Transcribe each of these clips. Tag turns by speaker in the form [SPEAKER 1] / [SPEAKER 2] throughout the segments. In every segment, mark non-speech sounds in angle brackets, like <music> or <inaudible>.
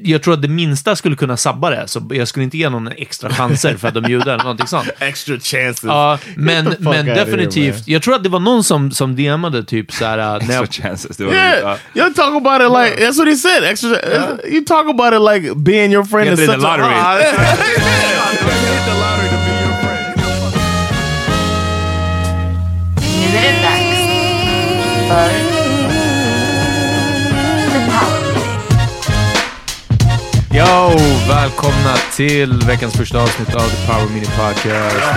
[SPEAKER 1] Jag tror att det minsta skulle kunna sabba det, så jag skulle inte ge någon extra chanser för att de är judar eller någonting sånt.
[SPEAKER 2] <laughs> Extra chances.
[SPEAKER 1] Ja,
[SPEAKER 2] Get
[SPEAKER 1] men,
[SPEAKER 2] the fuck
[SPEAKER 1] men
[SPEAKER 2] outta here,
[SPEAKER 1] definitivt.
[SPEAKER 2] man.
[SPEAKER 1] jag tror att det var någon som, som DMade typ så här... När jag,
[SPEAKER 3] <laughs> chances.
[SPEAKER 2] Yeah, you talk about it like that's what he said. Extra, you talk about it like being your friend is
[SPEAKER 1] Getting
[SPEAKER 2] such
[SPEAKER 1] in the lottery.
[SPEAKER 2] A, <laughs> Ah,
[SPEAKER 4] Nu är det dags för The Power Play.
[SPEAKER 1] Yo! Välkomna till veckans första avsnitt av The Power Mini Podcast.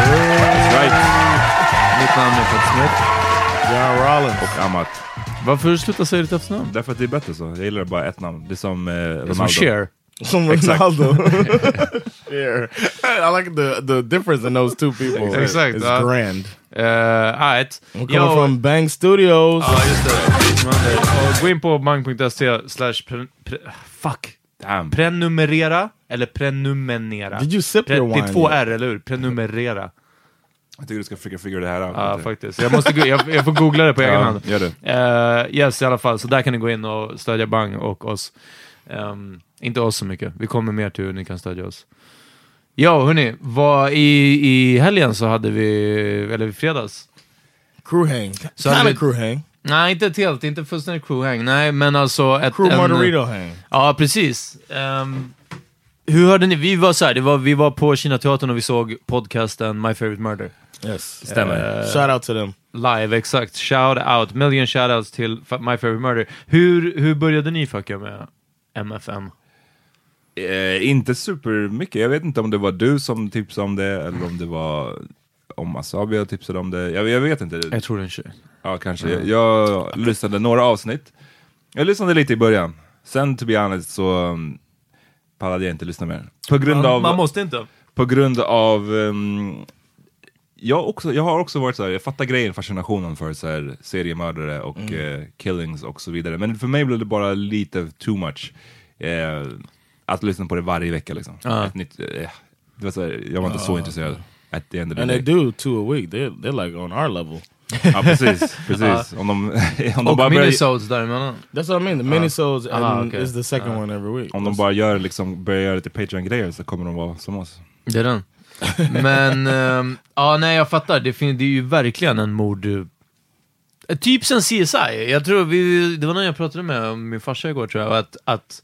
[SPEAKER 1] Mitt namn är Fred Smith.
[SPEAKER 3] John Rollins. Och Amat.
[SPEAKER 1] Varför sluta säga ditt efternamn?
[SPEAKER 3] Därför att det är bättre så. Jag gillar bara ett namn. Det är som eh, Ronaldo.
[SPEAKER 1] Som Cher.
[SPEAKER 2] From Ronaldo. yeah. <laughs> I like the the difference in those two people.
[SPEAKER 1] Exact,
[SPEAKER 2] It's
[SPEAKER 1] uh,
[SPEAKER 2] grand.
[SPEAKER 1] Uh, alright.
[SPEAKER 2] I'm coming from Bang Studios.
[SPEAKER 1] Ja, just det. Och gå in på mang.se slash pre- pre- fuck.
[SPEAKER 3] Damn.
[SPEAKER 1] Prenumerera eller prenumerera.
[SPEAKER 2] Did you sip
[SPEAKER 1] Pre-
[SPEAKER 2] your
[SPEAKER 1] det
[SPEAKER 2] wine
[SPEAKER 1] är två
[SPEAKER 2] yet?
[SPEAKER 1] R, eller hur? Prenumerera.
[SPEAKER 3] Jag tycker du ska försöka figura det här out.
[SPEAKER 1] Ja, faktiskt. Jag, måste, gå- jag, jag får googla det på egen
[SPEAKER 3] Ja,
[SPEAKER 1] hand.
[SPEAKER 3] gör det.
[SPEAKER 1] Eh, yes, i alla fall. Så där kan ni gå in och stödja Bang och oss. Ehm, inte oss så mycket. Vi kommer mer till hur ni kan stödja oss. Ja, hörni. Vad, i, I helgen så hade vi, eller i fredags,
[SPEAKER 2] crew hang.
[SPEAKER 1] So
[SPEAKER 2] Not
[SPEAKER 1] I
[SPEAKER 2] a
[SPEAKER 1] did-
[SPEAKER 2] crew hang.
[SPEAKER 1] Nej, inte ett helt, inte fullständigt crew hang. Nej, men alltså... Ett,
[SPEAKER 2] Crew
[SPEAKER 1] en-
[SPEAKER 2] Margarito hang.
[SPEAKER 1] Ja, precis. Ehm, hur hörde ni? Vi var så här, det var, vi var på Kina teatern och vi såg podcasten My Favorite Murder.
[SPEAKER 2] Yes.
[SPEAKER 3] Stämmer.
[SPEAKER 2] Shout out to them.
[SPEAKER 1] Live, exakt. Shout out, million shout outs till fa- My Favorite Murder. Hur, hur började ni fucka med MFM?
[SPEAKER 3] Eh, inte supermycket. Jag vet inte om det var du som tipsade om det eller om det var om Asabia tipsade om det. Jag, jag vet inte.
[SPEAKER 1] tror Mm. det är en tjej.
[SPEAKER 3] Ja, kanske. Jag lyssnade några avsnitt. Jag lyssnade lite i början. Sen, to be honest, så... um, pallade jag inte lyssna mer. På grund av...
[SPEAKER 1] Man måste inte.
[SPEAKER 3] På grund av... ehm, jag, också, jag har också varit så här, jag fattar grejen, fascinationen för så här, seriemördare och
[SPEAKER 1] Mm.
[SPEAKER 3] eh, killings och så vidare. Men för mig blev det bara lite too much. Eh, att lyssna på det varje vecka liksom.
[SPEAKER 1] Ja.
[SPEAKER 3] Ett nytt, eh, det var så här, jag var inte så intresserad. At the end of the
[SPEAKER 5] And they
[SPEAKER 3] day.
[SPEAKER 5] do two a week. They're, they're like on our level.
[SPEAKER 3] Ja precis, precis. Om de, <laughs> om de
[SPEAKER 1] Och
[SPEAKER 3] bara börjar,
[SPEAKER 1] minisodes däremellan.
[SPEAKER 5] That's what I mean. The minisodes and
[SPEAKER 1] Ah, okay.
[SPEAKER 5] is the second one every week.
[SPEAKER 3] om de bara gör, liksom, börjar göra lite Patreon-grejer så kommer de vara som oss.
[SPEAKER 1] Det är den.
[SPEAKER 3] <laughs>
[SPEAKER 1] Men, ehm, ja nej jag fattar. Det, fin- det är ju verkligen en mord... eh, Typ sen CSI. Jag tror vi, det var någon jag pratade med, om min farsa igår tror jag, att, att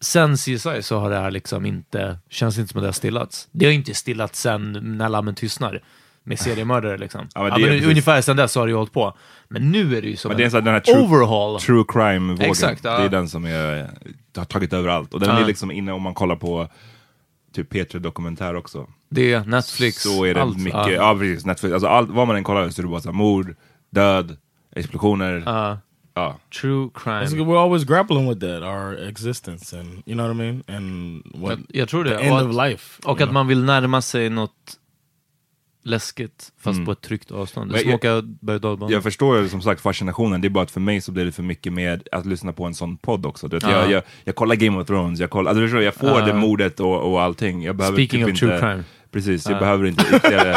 [SPEAKER 1] sen CSI så har det här liksom inte, känns inte som att det har stillats. Det har inte stillats sen När Lammen Tystnar. Med seriemördare liksom. Ja,
[SPEAKER 3] Ja, men
[SPEAKER 1] men
[SPEAKER 3] det är precis-
[SPEAKER 1] ungefär sen dess har det ju hållit på. Men nu är det ju som
[SPEAKER 3] Men det är
[SPEAKER 1] en
[SPEAKER 3] så här, den här true,
[SPEAKER 1] overhaul.
[SPEAKER 3] true crime-vågen.
[SPEAKER 1] Exakt, ja.
[SPEAKER 3] Det är den som är, har tagit över allt. Och den
[SPEAKER 1] Ja.
[SPEAKER 3] är liksom inne, om man kollar på typ P3 Dokumentär också.
[SPEAKER 1] Det är Netflix,
[SPEAKER 3] så är det
[SPEAKER 1] allt.
[SPEAKER 3] mycket,
[SPEAKER 1] Ja.
[SPEAKER 3] ja, precis, Netflix. Alltså allt, vad man än kollar så är det bara så här, mord, död, explosioner.
[SPEAKER 1] Ja.
[SPEAKER 3] Ja.
[SPEAKER 1] True
[SPEAKER 5] It's
[SPEAKER 1] crime.
[SPEAKER 5] like we're always grappling with that, our existence, and you know what I mean, and what
[SPEAKER 1] Jag, jag tror det.
[SPEAKER 5] the end
[SPEAKER 1] Och att-
[SPEAKER 5] of life.
[SPEAKER 1] Och
[SPEAKER 5] you
[SPEAKER 1] att
[SPEAKER 5] know?
[SPEAKER 1] man vill närma sig något läskigt, fast på ett tryggt avstånd. Det är som
[SPEAKER 3] Men
[SPEAKER 1] att åka berg och
[SPEAKER 3] Jag förstår ju som sagt fascinationen, det är bara att för mig så blir det för mycket med att lyssna på en sån podd också. Du vet, jag,
[SPEAKER 1] Ja.
[SPEAKER 3] jag, jag kollar Game of Thrones, jag, kollar, alltså, du förstår, jag får
[SPEAKER 1] Ja.
[SPEAKER 3] det mordet och, och allting. Jag behöver
[SPEAKER 1] Speaking
[SPEAKER 3] typ
[SPEAKER 1] of true
[SPEAKER 3] inte,
[SPEAKER 1] crime.
[SPEAKER 3] Precis, jag behöver
[SPEAKER 1] <laughs>
[SPEAKER 3] inte ytterligare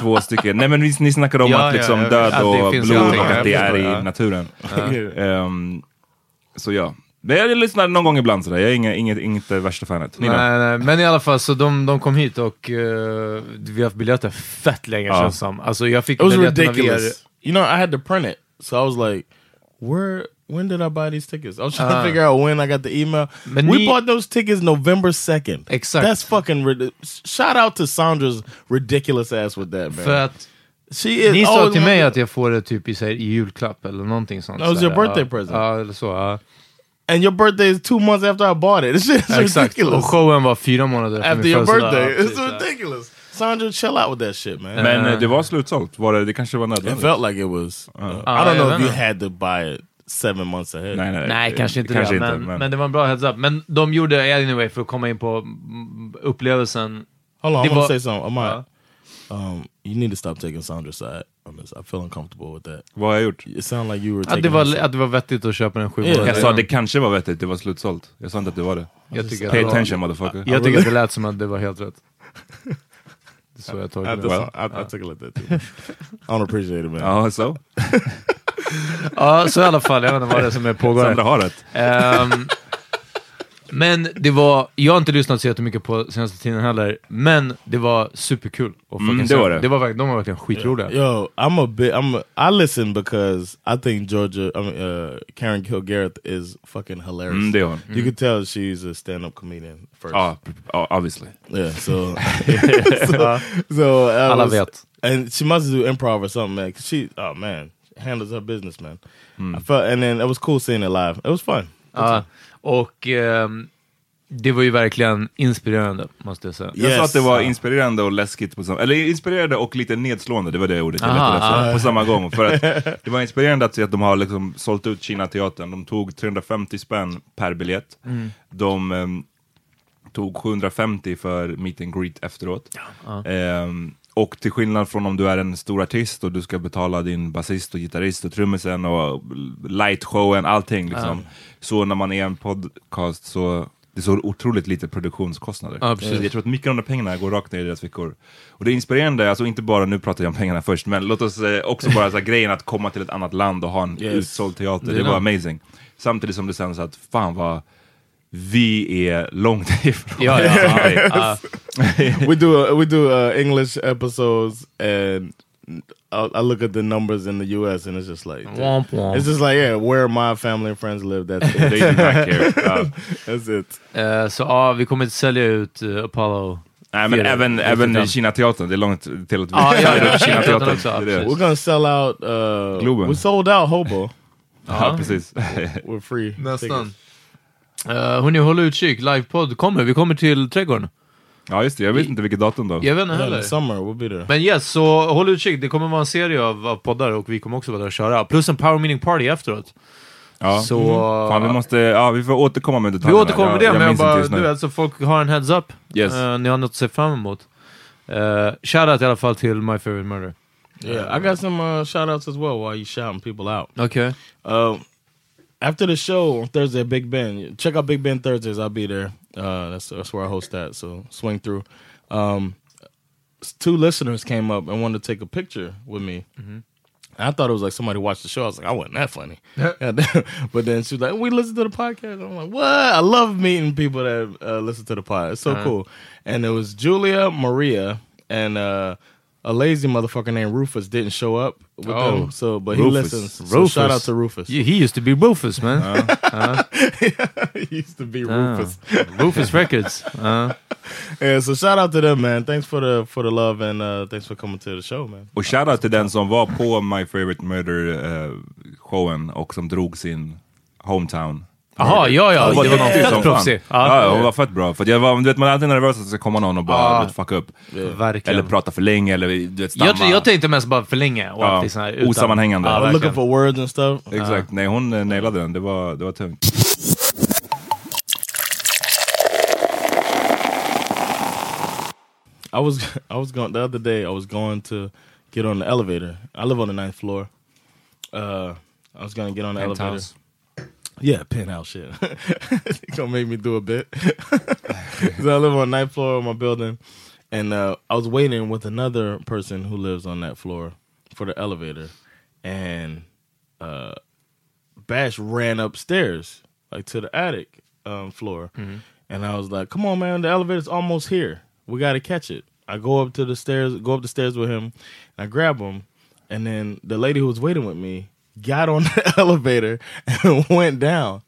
[SPEAKER 3] två stycken. Nej men ni, ni snackade om
[SPEAKER 1] Ja,
[SPEAKER 3] att
[SPEAKER 1] ja,
[SPEAKER 3] liksom
[SPEAKER 1] ja,
[SPEAKER 3] död
[SPEAKER 1] att det
[SPEAKER 3] och
[SPEAKER 1] finns
[SPEAKER 3] blod
[SPEAKER 1] allting.
[SPEAKER 3] och att det
[SPEAKER 1] Ja, jag
[SPEAKER 3] är
[SPEAKER 1] förstår,
[SPEAKER 3] i
[SPEAKER 1] ja.
[SPEAKER 3] naturen.
[SPEAKER 5] Yeah.
[SPEAKER 3] Ehm, så ja. Men jag lyssnar någon gång ibland sådär, jag är inga, inget, inte värsta fanet. Ni då?
[SPEAKER 1] Nej, nej, men i alla fall så de, de kom hit och eh, vi har haft biljetter fett länge
[SPEAKER 3] Ja.
[SPEAKER 1] känns som. Alltså jag fick
[SPEAKER 5] it was
[SPEAKER 1] biljetterna
[SPEAKER 5] ridiculous. You know, I had to print it, so I was like, "Where? When did I buy these tickets?" I was trying
[SPEAKER 1] Uh.
[SPEAKER 5] to figure out when I got the email.
[SPEAKER 1] But
[SPEAKER 5] we
[SPEAKER 1] ne-
[SPEAKER 5] bought those tickets November second.
[SPEAKER 1] Exact.
[SPEAKER 5] That's fucking. Rid shout out to Sandra's ridiculous ass with that man.
[SPEAKER 1] För att
[SPEAKER 5] she is.
[SPEAKER 1] ni sa
[SPEAKER 5] always
[SPEAKER 1] till
[SPEAKER 5] one-
[SPEAKER 1] mig att jag får det typ i, så här, i julklapp eller någonting sånt.
[SPEAKER 5] That was
[SPEAKER 1] så här,
[SPEAKER 5] your birthday
[SPEAKER 1] ja.
[SPEAKER 5] present.
[SPEAKER 1] Ja, eller så. Ja.
[SPEAKER 5] and your birthday is two months after I bought it. <laughs> This shit is
[SPEAKER 1] Exakt. Och
[SPEAKER 5] ridiculous.
[SPEAKER 1] showen var fyra månader efter
[SPEAKER 5] After
[SPEAKER 1] min
[SPEAKER 5] your
[SPEAKER 1] födelsedag.
[SPEAKER 5] birthday,
[SPEAKER 1] Ja, precis,
[SPEAKER 5] it's
[SPEAKER 1] ja.
[SPEAKER 5] ridiculous. Sandra, chill out with that shit, man.
[SPEAKER 3] Men eh, det var slutsålt, var det, det kanske var
[SPEAKER 5] It
[SPEAKER 3] nödvändigt?
[SPEAKER 5] felt like it was. uh, I
[SPEAKER 1] Ah,
[SPEAKER 5] don't know
[SPEAKER 1] yeah,
[SPEAKER 5] if you
[SPEAKER 1] no.
[SPEAKER 5] had to buy it seven months ahead.
[SPEAKER 3] Nej, nej,
[SPEAKER 1] Nej,
[SPEAKER 3] eh,
[SPEAKER 1] kanske inte det. men, men. det var en bra heads up. Men de gjorde anyway för att komma in på mm, upplevelsen.
[SPEAKER 5] Hold on,
[SPEAKER 1] They
[SPEAKER 5] I'm gonna
[SPEAKER 1] bought-
[SPEAKER 5] say something. Amar,
[SPEAKER 1] Uh.
[SPEAKER 5] um, you need to stop taking Sandra's side on this. I feel uncomfortable with that.
[SPEAKER 3] Vad har jag gjort?
[SPEAKER 5] It sounded like you were
[SPEAKER 1] Att
[SPEAKER 5] taking.
[SPEAKER 1] det,
[SPEAKER 5] her
[SPEAKER 1] var,
[SPEAKER 5] side.
[SPEAKER 1] att det var vettigt att köpa den sju
[SPEAKER 5] Yeah.
[SPEAKER 3] Jag
[SPEAKER 1] månader
[SPEAKER 3] sa
[SPEAKER 1] innan.
[SPEAKER 3] det kanske var vettigt, det var slutsålt. Jag sa inte att det var det.
[SPEAKER 1] Jag tycker,
[SPEAKER 3] Pay
[SPEAKER 1] att, det var-
[SPEAKER 3] attention motherfucker.
[SPEAKER 1] jag tycker att det lät som att det var helt rätt. Det är så jag
[SPEAKER 5] I,
[SPEAKER 1] tolkar
[SPEAKER 5] just-
[SPEAKER 1] det.
[SPEAKER 5] I, I took a look at that too. I don't appreciate it, man.
[SPEAKER 3] Ja, så.
[SPEAKER 1] Ja, så i alla fall. Jag vet inte vad det är som är
[SPEAKER 3] Sandra
[SPEAKER 1] pågår.
[SPEAKER 3] har rätt.
[SPEAKER 1] Ehm, men det var... Jag har inte lyssnat så jättemycket på senaste tiden heller, men det var superkul. att
[SPEAKER 3] Mm,
[SPEAKER 1] fucking
[SPEAKER 3] det
[SPEAKER 1] se.
[SPEAKER 3] var det.
[SPEAKER 1] det var verkligen, de var verkligen skitroliga.
[SPEAKER 5] Yo, I'm a bit. I'm. A, I listen because I think Georgia. I mean, uh, Karen Kilgareth is fucking hilarious.
[SPEAKER 3] Mm, det är hon.
[SPEAKER 5] You can tell she's a stand-up comedian first.
[SPEAKER 3] Ja, ja, obviously.
[SPEAKER 5] Yeah, so <laughs> so, so I
[SPEAKER 1] Alla
[SPEAKER 5] was-
[SPEAKER 1] vet.
[SPEAKER 5] and she must do improv or something, man. 'cause she, oh man, handles her business, man. I felt, and then it was cool seeing it live. It was fun.
[SPEAKER 1] Ja, och ehm, det var ju verkligen inspirerande, måste jag säga.
[SPEAKER 3] Jag sa
[SPEAKER 5] Yes.
[SPEAKER 3] att det var
[SPEAKER 5] Ja.
[SPEAKER 3] inspirerande och läskigt på samma... Eller inspirerande och lite nedslående, det var det ordet jag
[SPEAKER 1] Aha,
[SPEAKER 3] letade efter.
[SPEAKER 1] ah.
[SPEAKER 3] På samma gång. För att det var inspirerande att se att de har liksom sålt ut Kina-teatern. De tog 350 spänn per biljett. De ehm, tog 750 för meet and greet efteråt. Ehm, och till skillnad från om du är en stor artist och du ska betala din basist och gitarrist och trummisen och lightshowen, allting liksom. Så när man är en podcast så det är så otroligt lite produktionskostnader.
[SPEAKER 1] Ja, precis.
[SPEAKER 3] Jag tror att mycket av de pengarna går rakt ner i deras fickor. Och det är inspirerande, alltså inte bara, nu pratar jag om pengarna först, men låt oss eh, också bara så här, <laughs> grejen att komma till ett annat land och ha en
[SPEAKER 5] Yes.
[SPEAKER 3] utsåld teater, det,
[SPEAKER 1] Det är
[SPEAKER 3] var
[SPEAKER 1] det.
[SPEAKER 3] amazing. Samtidigt som det sen så att, fan vad vi är långt <laughs> ifrån.
[SPEAKER 1] Ja, ja, ja.
[SPEAKER 3] Sverige.
[SPEAKER 1] Ja.
[SPEAKER 5] <laughs> we do uh, we do uh, English episodes, and I, I look at the numbers in the U.S. and it's just like
[SPEAKER 1] Womp womp.
[SPEAKER 5] it's just like yeah, where my family and friends live. That's it.
[SPEAKER 3] They do not care. Ja.
[SPEAKER 5] <laughs> that's it.
[SPEAKER 1] Eh, så ja, vi kommer inte sälja ut eh, Apollo.
[SPEAKER 3] Nej men
[SPEAKER 1] Fyra.
[SPEAKER 3] även,
[SPEAKER 1] Fyra.
[SPEAKER 3] även i Kina-teatern, det är långt <laughs> till att vi
[SPEAKER 1] Ja, ja, ja.
[SPEAKER 3] Kina-teatern.
[SPEAKER 1] också, ja,
[SPEAKER 3] det är det.
[SPEAKER 5] We're gonna sell out. Uh,
[SPEAKER 3] Globen.
[SPEAKER 5] We sold out <laughs> Hobo.
[SPEAKER 3] Ja, precis. <laughs>
[SPEAKER 5] We're free. tickets.
[SPEAKER 1] Uh, hörni, håll utkik. Livepodd kommer. Vi kommer till trädgården.
[SPEAKER 3] Ja just det, jag vet inte vilket datum då.
[SPEAKER 1] Jag vet inte
[SPEAKER 5] Yeah, in the
[SPEAKER 1] heller.
[SPEAKER 5] summer we'll be there.
[SPEAKER 1] Men yes, så håll utkik. Det kommer vara en serie av, av poddar och vi kommer också vara där och köra. Plus en power meeting party efteråt.
[SPEAKER 3] Ja.
[SPEAKER 1] Så...
[SPEAKER 3] Fan, vi måste, ja vi får återkomma med
[SPEAKER 1] Vi
[SPEAKER 3] detaljerna.
[SPEAKER 1] återkommer med det, men jag
[SPEAKER 3] minns
[SPEAKER 1] bara,
[SPEAKER 3] inte just nu.
[SPEAKER 1] du vet, så folk har en heads up.
[SPEAKER 3] Yes.
[SPEAKER 1] Eh, ni har något att se fram emot. Uh, Shoutout i alla fall till My Favorite Murder.
[SPEAKER 5] Yeah, I got some uh, shout outs as well while you shouting people out.
[SPEAKER 1] Okej.
[SPEAKER 5] Uh, after the show on Thursday at Big Ben, check out Big Ben Thursdays. I'll be there. Uh, that's that's where I host that. So swing through. Um, s- two listeners came up and wanted to take a picture with me. I thought it was like somebody watched the show. I was like, I wasn't that funny. And then- but then she was like, we listened to the podcast. I'm like, what? I love meeting people that uh, listen to the pod. It's so cool. And it was Julia, Maria, and uh, a lazy motherfucker named Rufus didn't show up with
[SPEAKER 1] Oh.
[SPEAKER 5] them. So, but he
[SPEAKER 3] Rufus.
[SPEAKER 5] listens. So shout out to Rufus.
[SPEAKER 1] He he used to be Rufus, man.
[SPEAKER 5] <laughs> He used to be
[SPEAKER 1] Ah.
[SPEAKER 5] Rufus. <laughs>
[SPEAKER 1] Rufus Records. Uh.
[SPEAKER 5] Yeah, so shout out to them, man. Thanks for the for the love and uh, thanks for coming to the show, man.
[SPEAKER 3] Och shoutout till den som var på My Favorite Murder-showen och som drog sin hometown.
[SPEAKER 1] Jaha, ja, ja.
[SPEAKER 3] Hon var
[SPEAKER 1] Det var
[SPEAKER 3] duktig
[SPEAKER 1] fett
[SPEAKER 3] som
[SPEAKER 1] proffsig.
[SPEAKER 3] fan.
[SPEAKER 1] Ja.
[SPEAKER 3] Ja, hon var fett bra. För jag var, du vet, man är alltid nervös att det ska komma någon och bara
[SPEAKER 1] Ja.
[SPEAKER 3] du vet, fucka upp.
[SPEAKER 1] Verkligen.
[SPEAKER 3] Eller prata för länge eller du vet, stamma.
[SPEAKER 1] jag, tr- jag tänkte mest bara förlänga. Och
[SPEAKER 3] Ja,
[SPEAKER 1] allting sån här utan-
[SPEAKER 3] osammanhängande.
[SPEAKER 1] Ja,
[SPEAKER 3] I'm
[SPEAKER 1] verkligen.
[SPEAKER 5] Looking for words and stuff.
[SPEAKER 3] Exakt, nej hon eh, nailade den. Det var, det var tungt.
[SPEAKER 5] I was <laughs> I was going the other day. I was going to get on the elevator. I live on the ninth floor. Uh, I was gonna get on the elevator.
[SPEAKER 3] Penthouse.
[SPEAKER 5] Yeah, penthouse shit. <laughs> It's gonna make me do a bit. <laughs> so I live on the ninth floor of my building, and uh, I was waiting with another person who lives on that floor for the elevator, and uh, Bash ran upstairs like to the attic um, floor, and I was like, "Come on, man! The elevator's almost here. We got to catch it." I go up to the stairs, go up the stairs with him, and I grab him, and then the lady who was waiting with me got on <laughs> the elevator and went down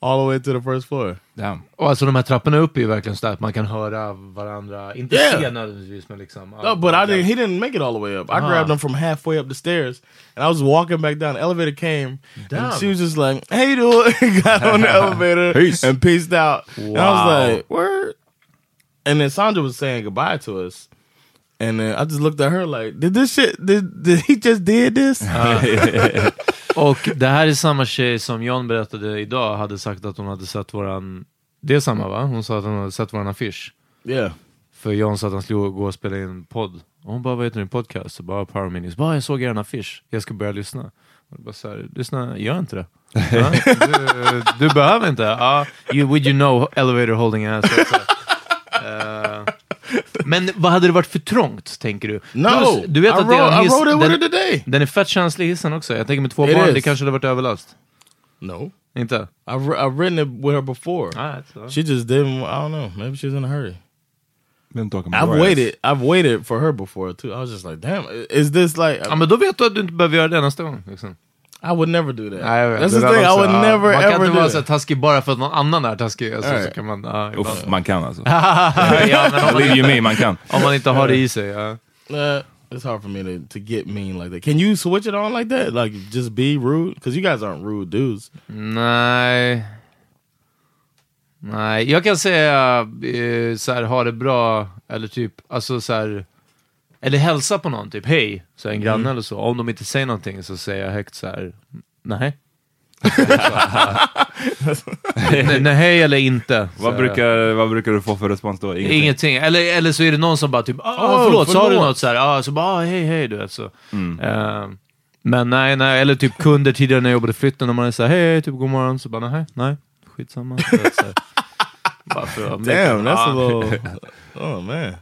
[SPEAKER 5] all the way to the first floor.
[SPEAKER 3] Damn.
[SPEAKER 1] Och alltså de här trapporna upp är ju verkligen så att man kan höra varandra. Inte
[SPEAKER 5] Yeah.
[SPEAKER 1] se nödvändigtvis, men liksom... ja.
[SPEAKER 5] No, but I didn't. He didn't make it all the way up. I grabbed him from halfway up the stairs, and I was walking back down. The elevator came, and
[SPEAKER 1] Damn.
[SPEAKER 5] she was just like, "Hey, dude!" <laughs> got on the elevator
[SPEAKER 3] Peace.
[SPEAKER 5] and peaced out. And I
[SPEAKER 1] Wow.
[SPEAKER 5] was like, "Word!" And then Sandra was saying goodbye to us, and then I just looked at her like, "Did this shit? Did, did he just did this?"
[SPEAKER 1] Och det här är samma tjej som John berättade idag hade sagt att hon hade sett våran... Det är samma va? Hon sa att hon hade sett våran affisch.
[SPEAKER 5] yeah,
[SPEAKER 1] För John sa att han skulle gå och spela in en podd. Och hon bara, vad heter din podcast? Så bara, Power Minis. Bara, jag såg er en affisch. Jag ska börja lyssna. Och jag bara så här, lyssna, gör inte det.
[SPEAKER 5] <laughs>
[SPEAKER 1] Ja, du, du behöver inte. Ja, you, would you know elevator holding an ass? Eh, men vad hade det varit för trångt, tänker du?
[SPEAKER 5] no,
[SPEAKER 1] du vet
[SPEAKER 5] I,
[SPEAKER 1] att det
[SPEAKER 5] wrote,
[SPEAKER 1] är en
[SPEAKER 5] I
[SPEAKER 1] hiss,
[SPEAKER 5] wrote it with her
[SPEAKER 1] den,
[SPEAKER 5] today.
[SPEAKER 1] den är fett känslig hissen också. Jag tänker med två
[SPEAKER 5] It
[SPEAKER 1] barn,
[SPEAKER 5] is.
[SPEAKER 1] det kanske hade varit överlast.
[SPEAKER 5] No,
[SPEAKER 1] Inte?
[SPEAKER 5] I've I've written it with her before.
[SPEAKER 1] Ah, så.
[SPEAKER 5] She just didn't. I don't know. Maybe she was in a hurry.
[SPEAKER 3] Been talking
[SPEAKER 5] I've
[SPEAKER 3] about
[SPEAKER 5] waited. I've waited for her before too. I was just like, damn, is this like?
[SPEAKER 1] Ja, men då vet du att du inte behöver göra det nästa gång. Liksom.
[SPEAKER 5] I would never do that. uh,
[SPEAKER 1] Nej, jag vet.
[SPEAKER 5] That's
[SPEAKER 1] Det
[SPEAKER 5] the
[SPEAKER 1] där
[SPEAKER 5] thing. I
[SPEAKER 1] också,
[SPEAKER 5] would
[SPEAKER 1] ja.
[SPEAKER 5] never
[SPEAKER 1] man kan
[SPEAKER 5] ever
[SPEAKER 1] inte
[SPEAKER 5] do
[SPEAKER 1] vara så här
[SPEAKER 5] that.
[SPEAKER 1] taskig bara för att någon annan är taskig. Alltså, så
[SPEAKER 5] Alright.
[SPEAKER 1] kan man, ja,
[SPEAKER 3] Uff,
[SPEAKER 1] ibland.
[SPEAKER 3] man kan alltså.
[SPEAKER 1] <laughs> ja, men om, man,
[SPEAKER 3] Believe you me,
[SPEAKER 1] <laughs>
[SPEAKER 3] man kan.
[SPEAKER 1] om man inte har det i sig. Ja.
[SPEAKER 5] Nah, it's hard for me to, to get mean like that. Can you switch it on like that? Like just be rude? Because you guys aren't rude dudes.
[SPEAKER 1] Nej. Nej, jag kan säga eh, så här, ha det bra, eller typ, alltså så här, eller hälsa på någon, typ hej, så här,
[SPEAKER 5] Mm.
[SPEAKER 1] en granne eller så. Om de inte säger någonting så säger jag högt så här,
[SPEAKER 5] <laughs>
[SPEAKER 1] nej. <laughs> nej, nej, hej eller inte. Så
[SPEAKER 3] Vad
[SPEAKER 1] här.
[SPEAKER 3] brukar, vad brukar du få för respons då? Ingenting?
[SPEAKER 1] Ingenting. Eller, eller så är det någon som bara typ ah,
[SPEAKER 5] Åh,
[SPEAKER 1] förlåt, sa du
[SPEAKER 5] Typ. förlåt." Mm.
[SPEAKER 1] något? Så, här, ah, så bara ah, hej hej du vet så. Eh, men nej, nej, eller typ kunder tidigare när jag jobbade i flytten, när man är såhär hej, hej, typ god morgon, så bara nej, nej, skitsamma. Du vet, så
[SPEAKER 5] <laughs>
[SPEAKER 1] här. Bara för att-
[SPEAKER 5] Damn, that's
[SPEAKER 1] Ja.
[SPEAKER 5] a <laughs> little. oh man.
[SPEAKER 3] I